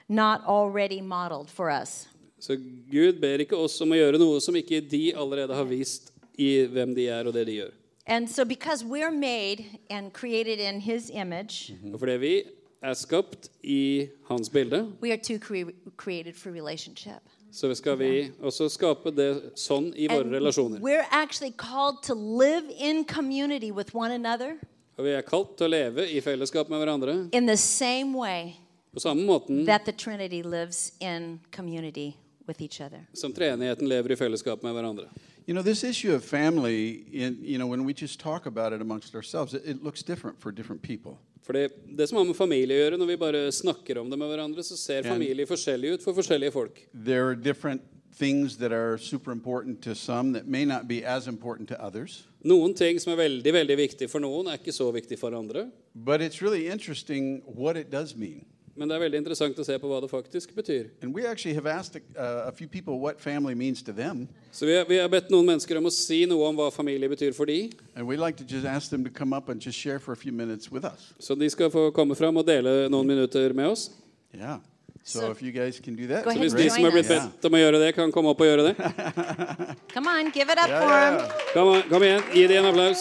C: not already modeled for us.
D: Så Gud ber ikke oss om å gjøre noe som ikke de allerede har vist i hvem de er og det de gjør.
C: And so because we're made and created in his image,
D: Og fordi vi er skapt i hans bilde,
C: we are too cre- created for relationship.
D: så skal vi også skape det sånn i våre
C: And
D: relasjoner.
C: we're actually called to live in community with one another
D: Og vi er kalt til å leve i fellesskap med hverandre
C: in the same way
D: på samme måten
C: that the Trinity lives in community with each other.
D: som treenigheten lever i fellesskap med hverandre.
E: You know, this issue of family, in, you know, when we just talk about it amongst ourselves, it, it looks different for different people.
D: For det, det som har med familie å gjøre, når vi bare snakker om det med hverandre, så ser familier forskjellig ut for forskjellige folk.
E: There are different things that are super important to some that may not be as important to others.
D: Noen ting som er veldig veldig viktig for noen, er ikke så viktig for andre.
E: But it's really interesting what it does mean.
D: Men det er veldig interessant å se på hva det faktisk betyr.
E: And we actually have asked a, uh, a few people what family means to them.
D: Så vi har, vi har bedt noen mennesker om å si noe om hva familie betyr for de.
E: And we like to just ask them to come up and just share for a few minutes with us.
D: Så de skal få komme fram og dele noen minutter med oss.
E: Yeah. So,
C: So-
E: if you guys can do that,
C: Go
E: it'd
C: ahead
E: be
D: Hvis
C: and
D: de
E: great.
D: som er blitt bedt om å gjøre det, kan komme opp og gjøre det.
C: Come on, give it up
E: Yeah,
C: for
E: yeah,
C: him.
E: yeah.
D: Kom, kom igjen, gi dem en applaus.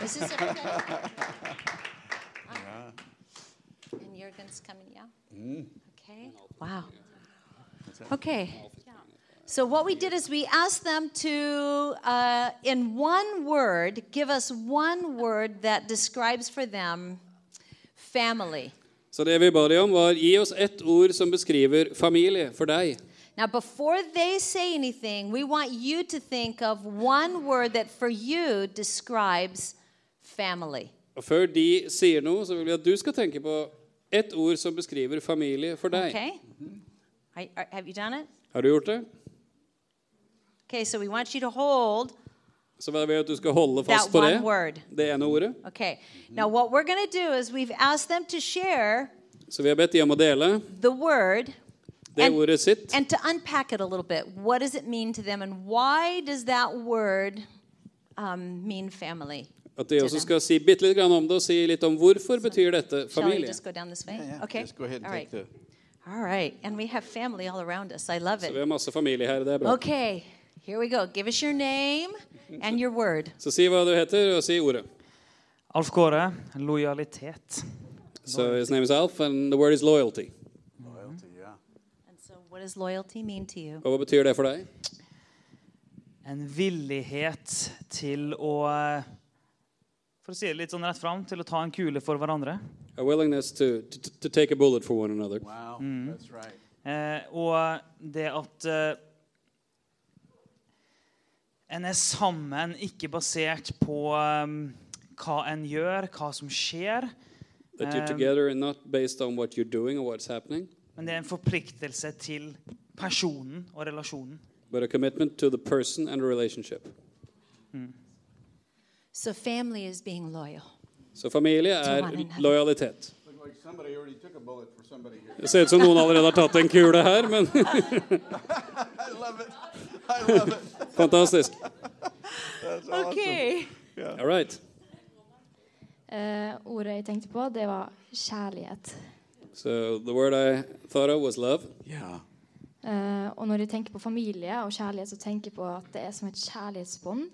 C: This is okay. And Jurgen's coming, yeah? Okay, wow. Okay. So what we did is we asked them to, uh, in one word, give us one word that describes for them family.
D: Så det vi ba de om, var gi oss ett ord som beskriver familie for deg.
C: Now, before they say anything, we want you to think of one word that for you describes family.
D: Og før de sier noe, så vil vi at du skal tenke på ett ord som beskriver familie for deg.
C: Okay? Are- are- have you done it?
D: Har du gjort det?
C: Okay, so we want you to hold
D: Så jeg vil at du skal holde fast
C: That
D: på
C: one
D: det,
C: word.
D: det ene ordet.
C: Okay. Now, what we're going to do is we've asked them to share
D: Så vi har bedt de om å dele
C: the word
D: det
C: And-
D: ordet sitt.
C: and to unpack it a little bit. What does it mean to them, and why does that word um, mean family?
D: At de også
C: them.
D: skal si bitte litt grann om det, og si litt om hvorfor betyr dette
C: Shall we
D: familie.
C: just go down this way?
E: Yeah,
C: Okay.
E: Just go ahead and
C: all right.
E: take the.
C: All right. And we have family all around us. I love
D: Så vi
C: it.
D: har masse familie her, det er bra.
C: Okay. Here we go. Give us your name and your word.
D: Så si hva du heter, og si ordet.
F: Alf Kåre, lojalitet.
D: So his name is Alf, and the word is loyalty.
E: Loyalty, yeah.
C: And so, what does loyalty mean to you?
D: Og hva betyr det for deg?
F: En villighet til å eh, For å si det litt sånn rett fram til å ta en kule for hverandre.
D: A willingness to, to, to take a bullet for one another.
E: Wow, that's right.
F: Eh, og det at eh, en er sammen, ikke basert på eh, hva en gjør, hva som skjer,
D: That you're
F: Um,
D: together and not based on what you're doing or what's happening,
F: men det er en forpliktelse til personen og relasjonen.
D: but a commitment to the person and a relationship.
C: So, family is being loyal.
D: Så familie
C: To
D: er
C: one another.
D: lojalitet.
E: Looked like somebody already took a bullet for somebody here.
D: Det ser ut som noen allerede har tatt en kule her, men
E: I love it. I love it.
D: fantastisk.
C: Okay.
D: All right.
G: Eh, ordet jeg tenkte på, det var kjærlighet.
D: So the word I thought of was love.
E: Yeah.
G: Eh, og når jeg tenker på familie og kjærlighet, så tenker jeg på at det er som et kjærlighetsbånd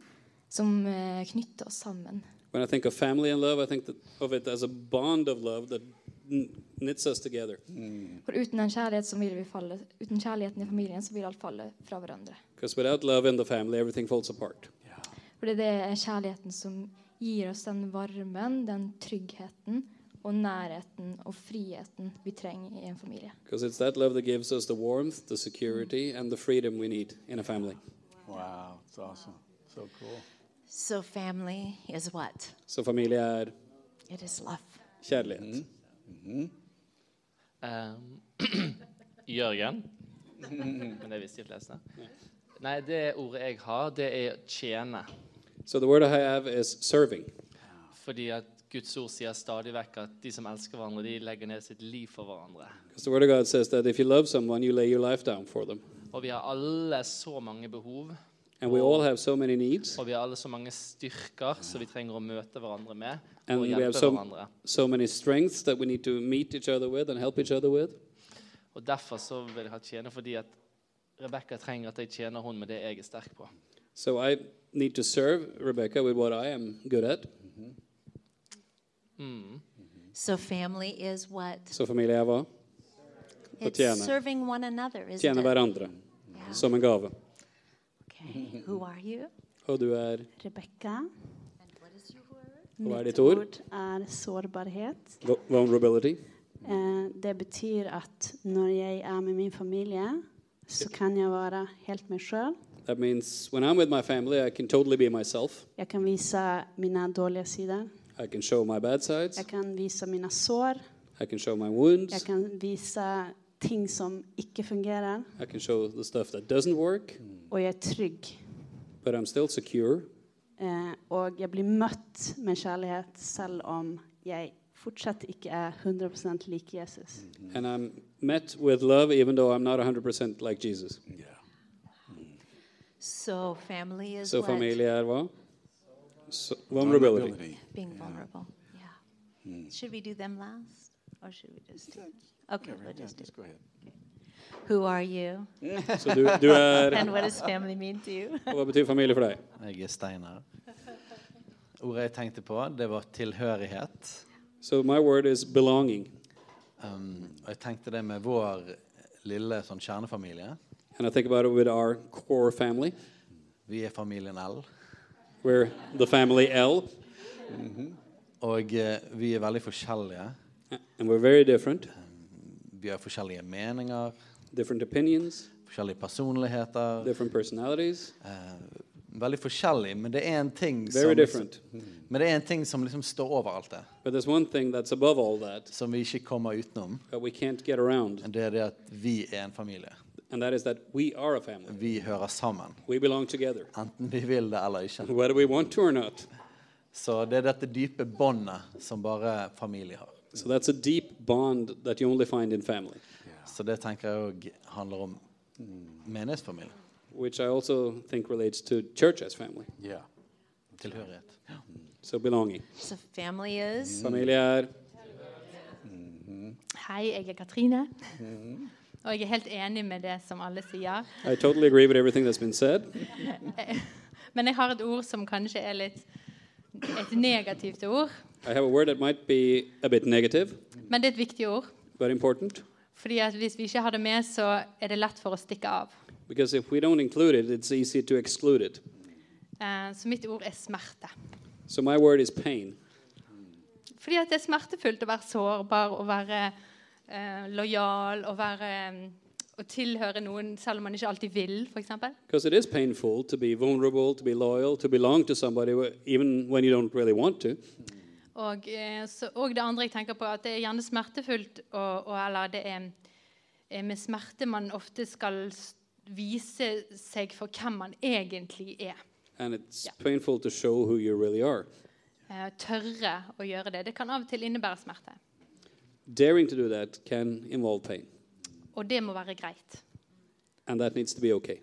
G: som eh, knytter oss sammen.
D: When I think of family and love, I think that of it as a bond of love that kn- knits us together.
G: For uten, den kjærlighet så vil vi falle, uten kjærligheten i familien så vil alt falle fra hverandre.
D: Because without love in the family, everything falls apart.
G: For det er kjærligheten som gir oss den varmen, den tryggheten og nærheten og friheten vi trenger i en familie.
D: Because it's that love that gives us the warmth, the security, and the freedom we need in a family.
E: Wow, it's awesome. So cool.
C: So, family is what?
D: Så familie er
C: It is love.
D: kjærlighet.
H: Um, Jørgen. Men det visste de fleste. Nei, det ordet jeg har, det er tjene.
D: So the word I have is serving.
H: Fordi at Guds ord sier stadig vekk at de som elsker hverandre, de legger ned sitt liv for hverandre.
D: Because the word of God says that if you love someone, you lay your life down for them.
H: Og vi har alle så mange behov,
D: And we all have so many needs,
H: og vi har alle så mange styrker som vi trenger å møte hverandre med
D: And
H: og
D: we have
H: hjelpe
D: some-
H: hverandre.
D: so many strengths that we need to meet each other with and help each other with.
H: Og derfor så vil jeg ha tjene, fordi at Rebekka trenger at jeg tjener hun med det jeg er sterk på.
D: So I need to serve Rebecca with what I am good at.
C: So, family is what?
D: Så familie er hva?
C: It's
D: tjene.
C: serving one another, isn't
D: Tjene
C: it?
D: hverandre som en gave.
C: Okay. Who are you?
D: Og du er
I: Rebekka.
D: Hva er ditt
I: Mitt
D: ord?
I: ord er sårbarhet.
D: vul- vulnerability.
I: Eh, Det betyr at når jeg er med min familie, så kan jeg være helt meg sjøl.
D: That means when I'm with my family, I can totally be myself.
I: Jeg kan vise mine dårlige sider.
D: I can show my bad sides.
I: Jeg kan vise mine sår.
D: I can show my wounds.
I: Jeg kan vise ting som ikke fungerer.
D: I can show the stuff that doesn't work.
I: Og jeg er trygg.
D: But I'm still secure.
I: Eh, Og jeg blir møtt med kjærlighet selv om jeg fortsatt ikke er 100 lik Jesus.
D: And I'm met with love even though I'm not 100% like Jesus.
C: So, family is
D: So
C: what?
D: familie er hva? So, vulnerability.
C: Being vulnerable. Yeah. Should we do them last? Or should we just do Okay, we'll just do
E: Just go ahead.
C: Who are you?
D: Så du, du er
C: And what does family mean to you?
D: Hva betyr familie for deg?
A: Jeg er Steinar. Ordet jeg tenkte på, det var tilhørighet.
D: So my word is belonging.
A: Um, og jeg tenkte det med vår lille sånn kjernefamilie.
D: And I think about it with our core family.
A: Vi er familien L.
D: We're the family L,
A: Og eh, vi er veldig forskjellige.
D: and we're very different.
A: Vi har forskjellige meninger,
D: Different opinions,
A: forskjellige personligheter.
D: different personalities.
A: Eh, veldig forskjellig, men det er en ting
D: Very
A: som,
D: different.
A: men det er en ting som liksom står over alt det.
D: But there's one thing that's above all that
A: Som vi ikke kommer utenom.
D: that we can't get around,
A: Det er det at vi er en familie.
D: And that is that we are a family.
A: Vi hører sammen,
D: We belong together,
A: enten vi vil det eller ikke.
D: whether we want to or not.
A: Så det er dette dype båndet som bare familie har.
D: So that's a deep bond that you only find in family,
A: Så det tenker jeg òg handler om menighetsfamilie.
D: which I also think relates to church as family.
E: Yeah.
A: Tilhørighet. Ja.
D: So belonging.
C: So family is.
D: Familie er
J: Hei, jeg er Katrine. Og jeg er helt enig med det som alle sier.
D: I totally agree with everything that's been said.
J: Eh, Men jeg har et ord som kanskje er litt et negativt ord.
D: I have a word that might be a bit negative,
J: Men det er et viktig ord.
D: but important,
J: Fordi at hvis vi ikke har det med, så er det lett for å stikke av.
D: because if we don't include it, it's easy to exclude it.
J: Eh, Så mitt ord er smerte.
D: So my word is pain,
J: Fordi at det er smertefullt å være sårbar, å være eh, lojal, å være eh, å tilhøre noen selv om man ikke alltid vil, f.eks.
D: because it is painful to be vulnerable, to be loyal, to belong to somebody, wh- even when you don't really want to.
J: Og, eh, så, og det andre jeg tenker på, at det er gjerne smertefullt, og, og eller det er eh, med smerte man ofte skal s- vise seg for hvem man egentlig er.
D: And it's painful to show who you really are.
J: Eh, tørre å gjøre det. Det kan av og til innebære smerte.
D: Daring to do that can involve pain,
J: Og det må være greit.
D: and that needs to be okay.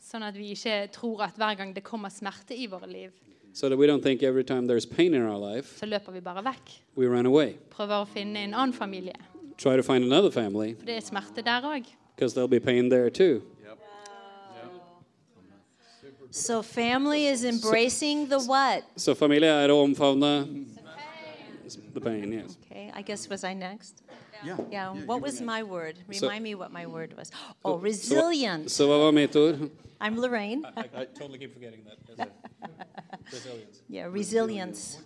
J: Sånn at vi ikke tror at hver gang det kommer smerte i våre liv,
D: So that we don't think every time there's pain in our life,
J: så løper vi bare vekk.
D: we run away.
J: Prøver å finne en annen familie.
D: Try to find another family,
J: For det er smerte der òg.
D: because there'll be pain there too.
C: So family is embracing the what?
D: So familie er å omfavne the pain, yes.
C: Okay, I guess was I next?
E: Yeah.
C: Yeah.
E: you
C: What
E: were
C: was
E: next.
C: my word?
D: So-
C: Remind me what my word was. Oh, resilient.
D: Så hva var mitt ord?
C: I'm Lorraine.
D: I totally keep forgetting that.
C: Yeah, resilience.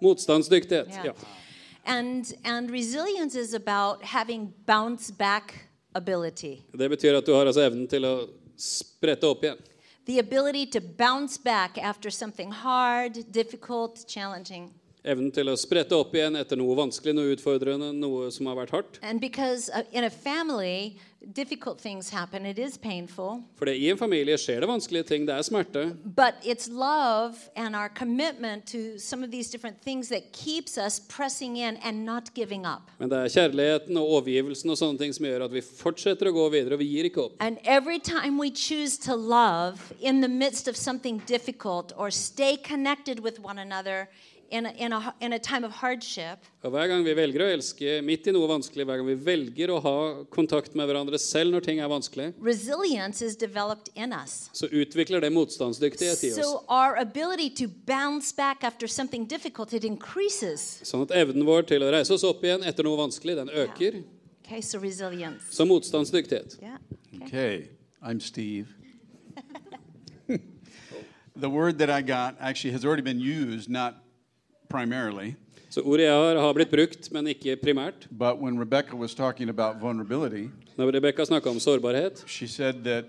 D: Motstandsdyktighet.
C: Yeah.
D: Ja.
C: And and resilience is about having bounce back ability.
D: Det betyr at du har altså evnen til å sprette opp igjen.
C: The ability to bounce back after something hard, difficult, challenging.
D: Evnen til å sprette opp igjen etter noe vanskelig, noe utfordrende, noe som har vært hardt.
C: And because uh, in a family, difficult things happen. It is painful,
D: For det, i en familie skjer det vanskelige ting, det er smerte.
C: but it's love and our commitment to some of these different things that keeps us pressing in and not giving up.
D: Men det er kjærligheten og overgivelsen og sånne ting som gjør at vi fortsetter å gå videre, og vi gir ikke opp.
C: And every time we choose to love in the midst of something difficult or stay connected with one another in a, in a, in a time of hardship,
D: Og hver gang vi velger å elske midt i noe vanskelig, hver gang vi velger å ha kontakt med hverandre selv når ting er vanskelig,
C: resilience is developed in us.
D: så utvikler det motstandsdyktighet i oss.
C: So our ability to bounce back after something difficult it increases.
D: Sånn at evnen vår til å reise oss opp igjen etter noe vanskelig, den øker.
C: Okay, so resilience.
D: Så motstandsdyktighet.
C: Yeah.
E: Okay, I'm Steve. the word that I got actually has already been used, not primarily,
D: Så ordet jeg har, har blitt brukt, men ikke primært.
E: but when Rebecca was talking about vulnerability,
D: Når Rebekka snakka om sårbarhet,
E: she said that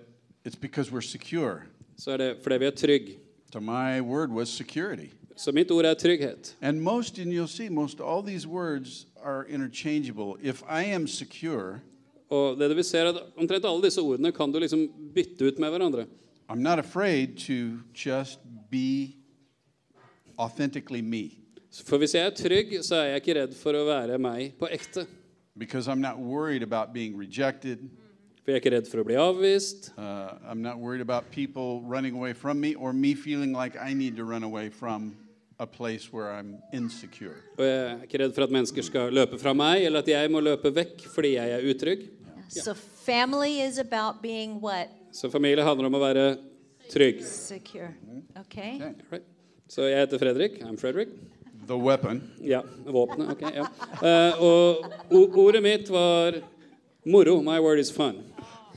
E: it's because we're secure.
D: så er det fordi vi er trygge.
E: So my word was security.
D: Så mitt ord er trygghet.
E: And most, and you'll see, most all these words are interchangeable. If I am secure,
D: Og det du vil se er at Omtrent alle disse ordene kan du liksom bytte ut med hverandre.
E: I'm not afraid to just be authentically me
D: For hvis jeg er trygg, så er jeg ikke redd for å være meg på ekte.
E: because I'm not worried about being rejected.
D: For jeg er ikke redd for å bli avvist.
E: Uh, I'm not worried about people running away from me or me feeling like I need to run away from a place where I'm insecure.
D: Og jeg er ikke redd for at mennesker skal løpe fra meg, eller at jeg må løpe vekk fordi jeg er utrygg.
C: So family is about being what?
D: Så familie handler om å være trygg.
C: Secure. Mm-hmm. Okay.
D: Right. Så jeg heter Fredrik. I'm Fredrik.
E: The weapon.
D: Ja, våpenet. Ok, ja. Eh, og o- ordet mitt var moro. My word is fun.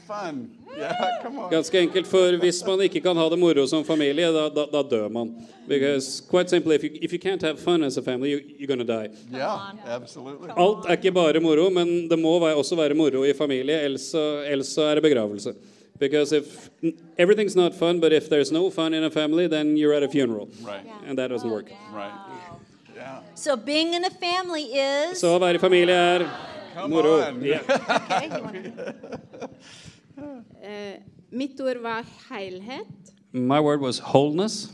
E: Fun. Yeah, come on.
D: Ganske enkelt, for hvis man ikke kan ha det moro som familie, da, da, da dør man. Because, quite simply, if you, if you can't have fun as a family, you, you're gonna die.
E: Yeah, absolutely.
D: Alt er ikke bare moro, men det må være, også være moro i familie, ellers, så- ellers så er det begravelse. Because if everything's not fun, but if there's no fun in a family, then you're at a funeral.
E: Right,
D: And that doesn't work.
E: right. Yeah.
C: So being in a family is
D: Så å være i familie er
E: Come
D: moro.
E: on.
D: Ja.
C: okay, you wanna-
K: Mitt ord var helhet,
D: My word was wholeness.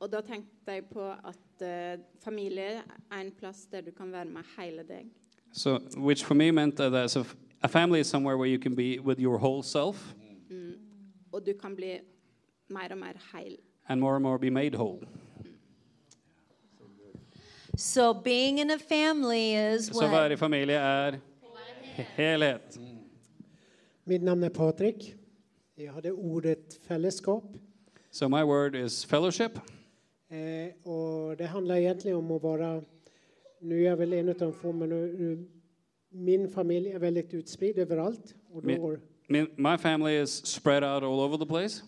K: og da tenkte jeg på at eh, familie er en plass der du kan være med hele deg.
D: So, which for me meant that as a, f- a family is somewhere where you can be with your whole self
K: Mm. Og du kan bli mer og mer heil.
D: and more and more be made whole.
C: So being in a family is
D: Så å
C: what?
D: være i familie er helhet.
L: Mitt navn er Patrick. Jeg hadde ordet fellesskap.
D: So my word is fellowship,
L: Eh, og det handler egentlig om å være Nå er jeg vel en av de få, men eh, min familie er veldig utspridd overalt. Og da
D: Mi-
L: går
D: Mi- my family is spread out all over the place.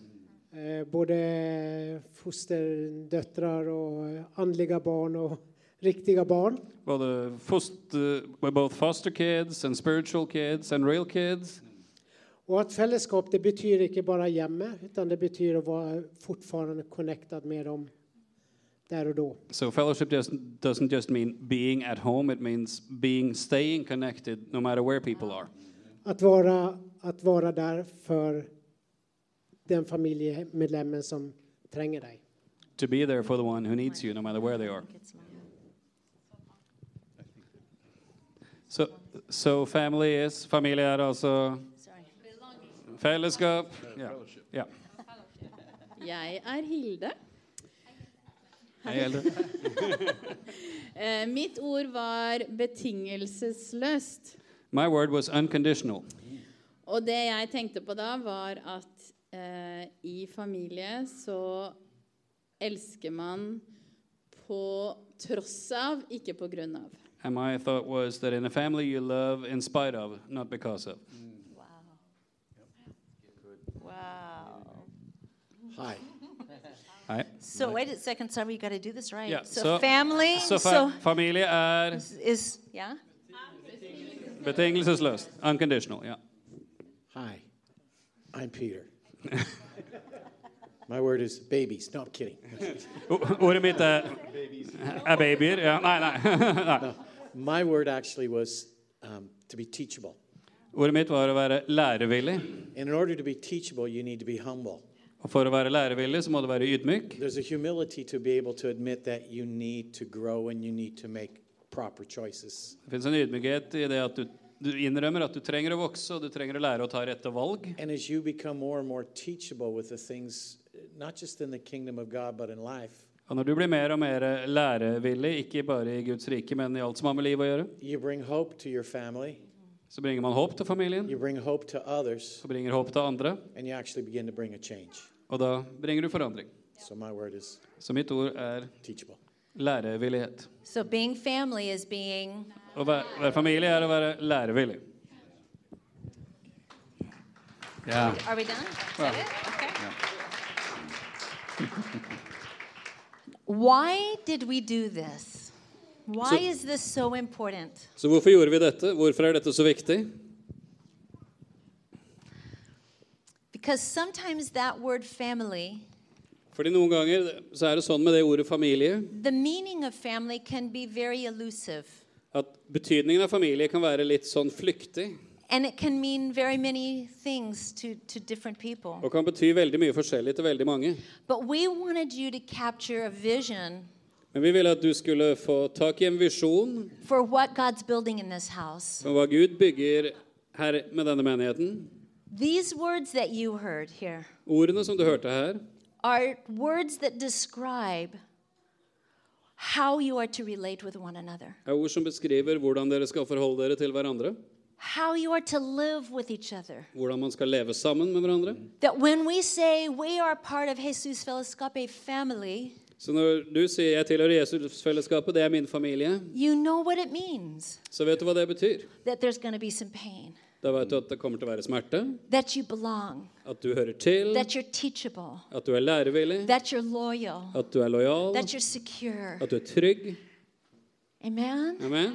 L: eh, både fosterdøtre og åndelige barn og riktige barn.
D: Well, the foster, we're both foster kids and spiritual kids and real kids.
L: Og at fellesskap det betyr ikke bare hjemmet, men det betyr å være fortsatt connected med dem der og da.
D: So fellowship just, doesn't just mean being at home; it means being, staying connected, no matter where people are.
L: Att vara, att vara där för den familjemedlemmen som tränger dig.
D: To be there for the one who needs you, no matter where they are. So, so family is family er altså fellesskap. Ja. ja.
K: Jeg er Hilde.
D: Hei, Hilde.
K: Eh, Mitt ord var betingelsesløst.
D: My word was unconditional.
K: Og det jeg tenkte på da, var at eh, i familie så elsker man på tross av, ikke på grunn av.
D: And my thought was that in a family you love in spite of, not because of.
C: Wow.
D: Hi. Hi.
C: So wait a second, sorry, you got to do this right.
D: Yeah,
C: so,
D: so-
C: family.
D: Så fa
C: so
D: familie er
C: is yeah.
D: betingelsesløst. Unconditional, ja.
M: Hi, I'm Peter. My word is babies. No, I'm kidding.
D: O- Ordet mitt er, er babyer. Ja, nei, nei. nei.
M: No, my word actually was um, to be teachable.
D: Ordet mitt var å være lærevillig.
M: And in order to be teachable, you need to be humble.
D: Og for å være lærevillig så må du være ydmyk.
M: There's a humility to be able to admit that you need to grow and you need to make proper choices.
D: Det fins en ydmykhet i det at du, du innrømmer at du trenger å vokse, og du trenger å lære å ta rette valg.
M: And as you become more and more teachable with the things, not just in the kingdom of God, but in life,
D: Og når du blir mer og mer lærevillig, ikke bare i Guds rike, men i alt som har med liv å gjøre,
M: you bring hope to your family,
D: så bringer man håp til familien,
M: you bring hope to others,
D: så bringer håp til andre,
M: and you actually begin to bring a change.
D: og da bringer du forandring.
M: So my word is
D: Så mitt ord er
M: teachable.
D: lærevillighet.
C: So being family is being
D: Å være, være familie er å være lærevillig. Ja.
C: Are we done? Is that
D: Ja.
C: it? Okay.
D: Ja.
C: Why did we do this? Why
D: So-
C: is this so important?
D: Så hvorfor gjorde vi dette? Hvorfor er dette så viktig?
C: Because sometimes that word family,
D: Fordi noen ganger så er det sånn med det ordet familie
C: the meaning of family can be very elusive
D: at betydningen av familie kan være litt sånn flyktig
C: and it can mean very many things to, to different people.
D: og kan bety veldig mye forskjellig til veldig mange.
C: But we wanted you to capture a vision
D: Men vi ville at du skulle få tak i en visjon
C: for what God's building in this house.
D: om hva Gud bygger her med denne menigheten.
C: These words that you heard here
D: Ordene som du hørte her,
C: are words that describe how you are to relate with one another,
D: er ord som beskriver hvordan dere skal forholde dere til hverandre.
C: how you are to live with each other.
D: Hvordan man skal leve sammen med hverandre.
C: That when we say we are part of Jesus Fellowscape family,
D: Så når du sier 'jeg tilhører Jesusfellesskapet, det er min familie',
C: you know what it means.
D: så vet du hva det betyr.
C: That there's going to be some pain,
D: Da vet du at det kommer til å være smerte,
C: that you belong,
D: at du hører til,
C: that you're teachable,
D: at du er lærevillig,
C: that you're loyal,
D: at du er lojal,
C: that you're secure.
D: at du er trygg.
C: Amen?
D: Amen.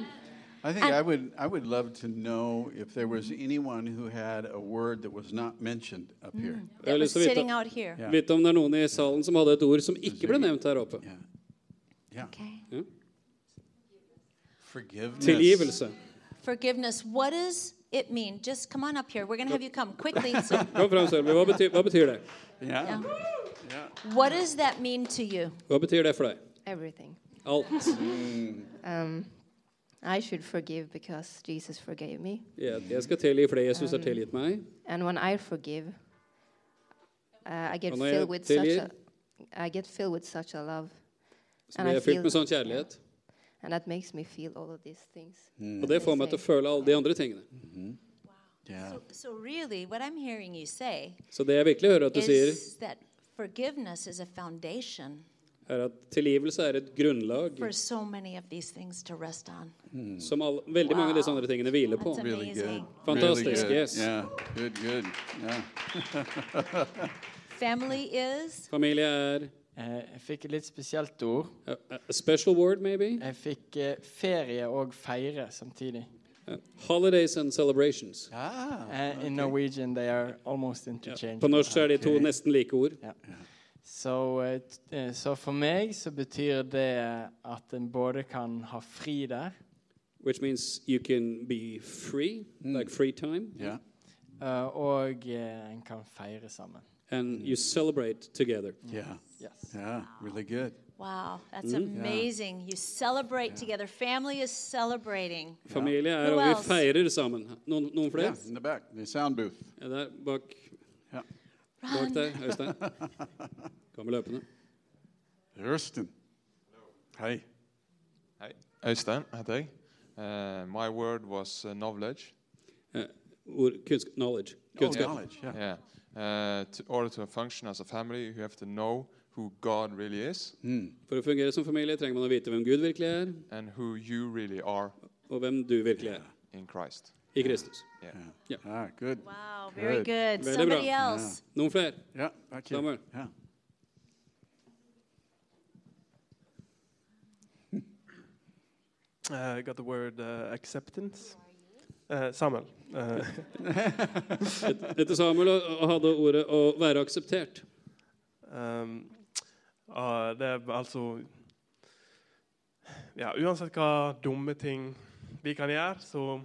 E: I think
C: And-
E: I would I would love to know if there was anyone who had a word that was not mentioned up here.
C: Mm.
D: Jeg har lyst til å
C: sitting out
D: vite,
C: here.
D: vite om det er noen i salen som hadde et ord som ikke ble nevnt her oppe. Ja.
E: Forgiveness.
D: Tilgivelse.
C: Forgiveness. What is it mean? Just come on up here. We're going to have you come quickly. So,
D: Kom fram, Sølvi. Hva, betyr- hva betyr det?
C: yeah. What does that mean to you?
D: Hva betyr det for deg?
J: Everything.
D: Alt.
J: Um, I should forgive because Jesus forgave me.
D: Ja, jeg skal tilgi fordi Jesus har
J: Um,
D: tilgitt meg.
J: And when I forgive, uh, I get
D: Og når jeg
J: filled with such a,
D: tilgir-
J: I get filled with such a love.
D: Så
J: And
D: blir
J: I
D: jeg fylt
J: feel,
D: med sånn kjærlighet.
J: and that makes me feel all of these things.
E: Mm.
D: Og det får meg til å føle alle de andre tingene.
C: So, so really, what I'm hearing you say
D: Så det jeg virkelig hører at du sier,
C: is that forgiveness is a foundation
D: er at tilgivelse er et grunnlag
C: for so many of these things to rest on.
D: som alle, veldig mange av disse andre tingene hviler på.
C: That's Really amazing. good.
D: Fantastisk.
E: Really good.
D: Yes.
E: Yeah. Good, good. Yeah.
C: Family is
D: Familie er
H: Eh, Jeg fikk et litt spesielt ord.
D: A, special word, maybe?
H: Jeg fikk eh, ferie og feire samtidig.
D: holidays and celebrations.
N: Ah,
H: Eh, In Norwegian they are almost interchangeable.
D: På norsk så er de to
H: Ok.
D: nesten like ord.
H: Så, eh, t- eh, så for meg så betyr det at en både kan ha fri der
D: Which means you can be free, like free time.
H: Yeah. eh, og eh, en kan feire sammen.
D: And you celebrate together.
E: Yeah.
H: Yes.
E: Yeah. Really good.
C: Wow,
D: Mm.
C: that's
D: Yeah.
C: amazing. You celebrate together. Family is celebrating.
D: Familie er
C: Who
D: og vi
C: else?
D: feirer sammen. Noen, noen flere?
E: Yeah, in the back, the sound booth.
D: Ja, der bak,
E: Ja.
D: bak deg, Øystein. Kommer løpende.
E: Øystein. Hei.
N: Hei. Øystein heter jeg. Eh, my word was eh, knowledge.
D: Eh, Ord, kunsk, knowledge. Kunnskap.
N: Yeah. Eh, to order to function as a family, you have to know who God really is
D: For å fungere som familie trenger man å vite hvem Gud virkelig er,
N: and who you really are
D: og hvem du virkelig er
N: in Christ.
D: i Kristus.
N: Yeah.
D: Ja.
E: Ah, good.
C: Wow, very good.
D: Veldig
C: Somebody
D: bra.
C: else.
D: Noen flere?
E: Ja, back here.
D: Samuel.
E: Yeah.
O: Uh, I got the word uh, acceptance. Uh, Samuel. Uh,
D: Etter Samuel og- og hadde ordet 'å være akseptert'.
O: um, uh, det er altså Ja, uansett hva dumme ting vi kan gjøre, så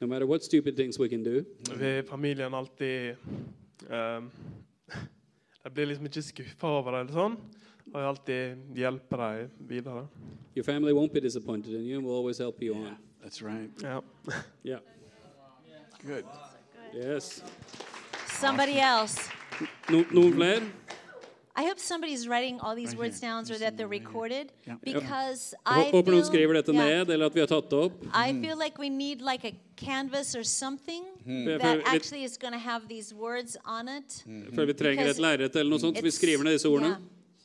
D: No matter what stupid things we can do.
O: vil familien alltid um, De blir liksom ikke skuffa over det eller sånn, og jeg alltid hjelper dem videre.
D: Your family won't be disappointed in you and will always help you on.
E: That's right.
O: Ja.
D: Yeah.
E: Good.
D: Yes.
C: Somebody else.
D: No, noen flere?
C: I hope somebody's writing all these
D: Right
C: words down or that they're recorded because I
D: Hå- Håper noen skriver
C: feel,
D: dette
C: yeah,
D: ned, eller at vi har tatt det opp.
C: I feel like we need like a canvas or something
D: Mm. Yeah,
C: that
D: for- it- Hmm.
C: actually is going to have these words on it.
D: Jeg føler vi trenger et
C: Because
D: lerret eller noe sånt, så vi
C: it's-
D: skriver ned disse ordene.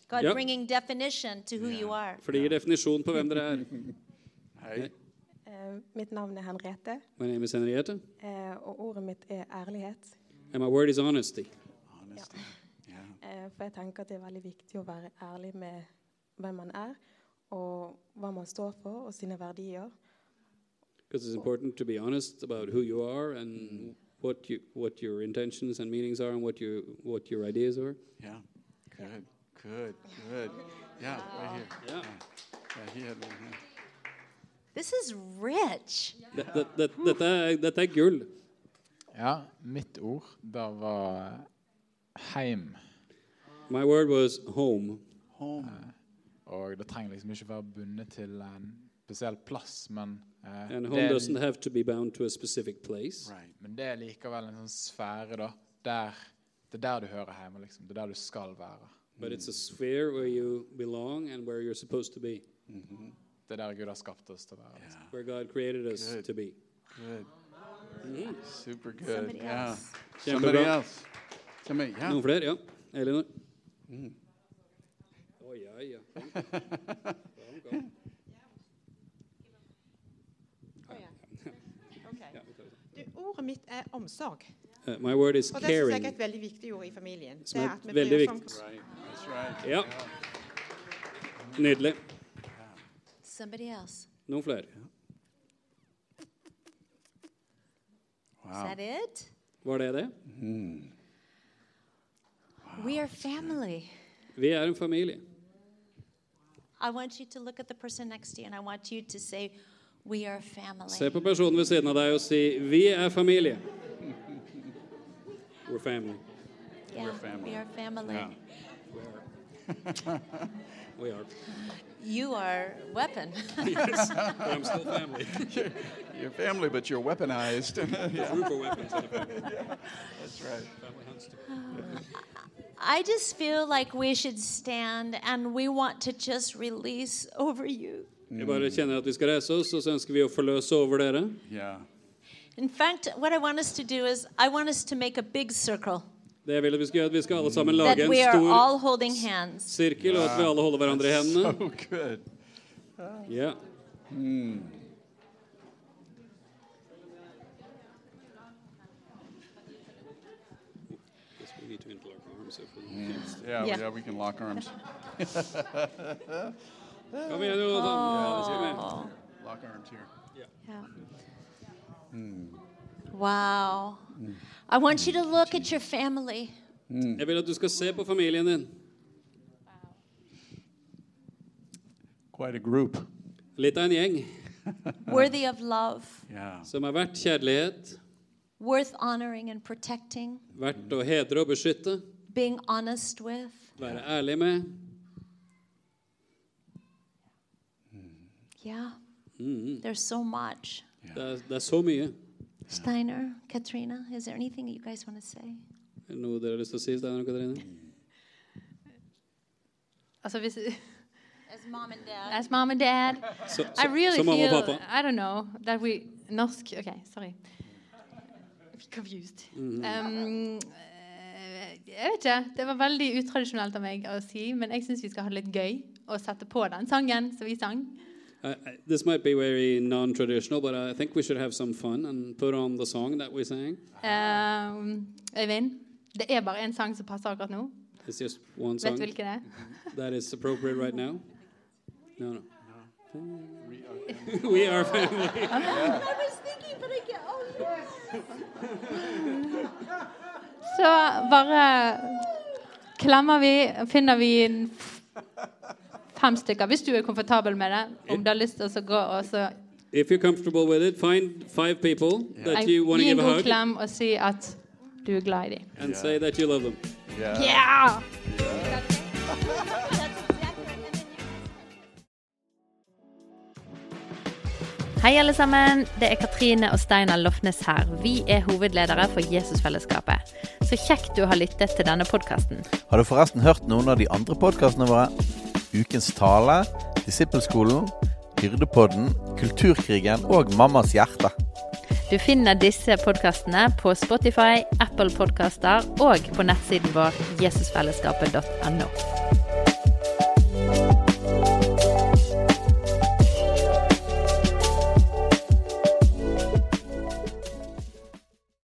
C: God
D: Ja.
C: bringing definition to who you are.
D: For det gir definisjon på hvem dere er.
E: Hei.
P: Eh, Mitt navn er Henriette,
D: My name is Henriette,
P: eh, og ordet mitt er ærlighet.
D: and my word is honesty.
P: Eh, For jeg tenker at det er veldig viktig å være ærlig med hvem man er, og hva man står for, og sine verdier.
D: Because it's important to be honest about who you are and what you what your intentions and meanings are and what you what your ideas are.
E: Yeah. Good. Good. Good. Yeah. Right here. Yeah. Right here. Right here.
C: This is rich.
D: Det- det- det- Dette er, dette er gull.
Q: Ja, mitt ord da var heim.
D: My word was home.
Q: Eh, Og det trenger liksom ikke være bundet til en spesiell plass, men eh,
D: And
Q: det
D: home
Q: er-
D: doesn't have to be bound to a specific place.
Q: Men det er likevel en sånn sfære, da. Der, det er der du hører hjemme, liksom. Det er der du skal være.
D: But it's a sphere where you belong and where you're supposed to be.
Q: Det er der Gud har skapt oss til å være. Liksom.
D: Where God created us to be.
E: Good. Super good.
D: Somebody
E: yeah.
D: else.
E: Somebody
D: Kjempebra.
E: else. Somebody. Yeah.
D: Noen flere? Ja. Mm. Elinor? Å, ja, ja. Kom, kom.
R: Ok. Du, ordet mitt er omsorg.
D: Uh, my word is
R: Og det syns jeg
D: caring.
R: er et veldig viktig ord i familien.
D: Som
R: Det
D: er
R: at vi sånn-
D: veldig
R: bryr oss om-
D: viktig.
E: That's right.
D: Ja. Nydelig.
C: Somebody else.
D: Noen flere?
C: Is that it?
D: Var det det?
C: We are family.
D: Vi er en familie.
C: I want you to look at the person next to you and I want you to say, We are family.
D: Se på personen ved siden av deg og si 'Vi er familie'. We're family.
C: Yeah,
D: We're family.
C: we are family.
D: Yeah. We are.
C: You are weapon.
E: Yes, but I'm still family. You're, you're family, but you're weaponized.
D: There's room for weapons in a family.
E: Yeah, that's right.
D: Family hunts too.
C: I just feel like we should stand and we want to just release over you.
D: Jeg bare
C: Mm.
D: kjenner at vi skal reise oss, og så ønsker vi å forløse over dere.
C: In fact, what I want us to do is I want us to make a big circle
D: Det jeg vil at vi skal gjøre, er at vi skal alle sammen lage
C: that
D: en
C: we are all
D: stor
C: holding hands.
D: sirkel, og at vi alle holder hverandre i
E: That's
D: hendene.
E: So good.
D: Ja. Guess we need to interlock arms if we can.
E: Yeah,
D: Yeah.
E: yeah, we can lock arms.
D: Kom igjen, Jonathan. Ja, det skal vi.
C: Åh.
E: Lock arms here.
C: Yeah.
E: Mm.
C: Wow. I want you to look at your family.
D: Jeg vil at du skal se på familien din.
E: Quite a group.
D: Litt av en gjeng
C: worthy of love,
D: som er verdt kjærlighet,
C: worth honoring and protecting,
D: verdt å hedre og beskytte,
C: being honest with.
D: være ærlig med.
C: Yeah,
D: Mhm.
C: there's so much.
D: Det, er, det er så mye.
C: Steiner, Katrina, is there anything that you guys want to say?
D: Er det noe dere har lyst til å si, Steinar og Katrine?
J: Altså hvis
C: As mom and dad.
J: As mom and dad.
D: Så-
J: I
D: så-
J: really
D: så mamma og
J: feel,
D: pappa.
J: I don't know, that we, norsk, okay, sorry. Confused.
D: Mhm.
J: Um, eh, jeg vet ikke, det var veldig utradisjonelt av meg å si, men jeg synes vi skal ha det litt gøy og sette på den sangen som vi sang.
D: I, I, this might be very non-traditional, but I think we should have some fun and put on the song that we sang.
J: Um, Øyvind, det er bare en sang som passer akkurat nå.
D: It's just one
J: Vet
D: song
J: du hvilken det er?
D: that is appropriate right now. No, no. We are family.
J: I
C: was thinking, but I get, oh
J: Så bare klemmer vi, finner vi en f- fem stykker, hvis du er komfortabel med det. Om du har lyst til å så gå og så
D: If you're comfortable with it, find five people that
J: gi
D: you want to
J: en
D: give a
J: god
D: hug
J: klem og si at du er glad i dem.
D: and say that you love them.
J: Yeah!
O: Hei, alle sammen. Det er Katrine og Steinar Lofnes her. Vi er hovedledere for Jesusfellesskapet. Så kjekt du har lyttet til denne podkasten.
A: Har du forresten hørt noen av de andre podkastene våre? Ukens tale, Disippelskolen, Hyrdepodden, Kulturkrigen og Mammas hjerte.
O: Du finner disse podkastene på Spotify, Apple Podkaster og på nettsiden vår jesusfellesskapet.no.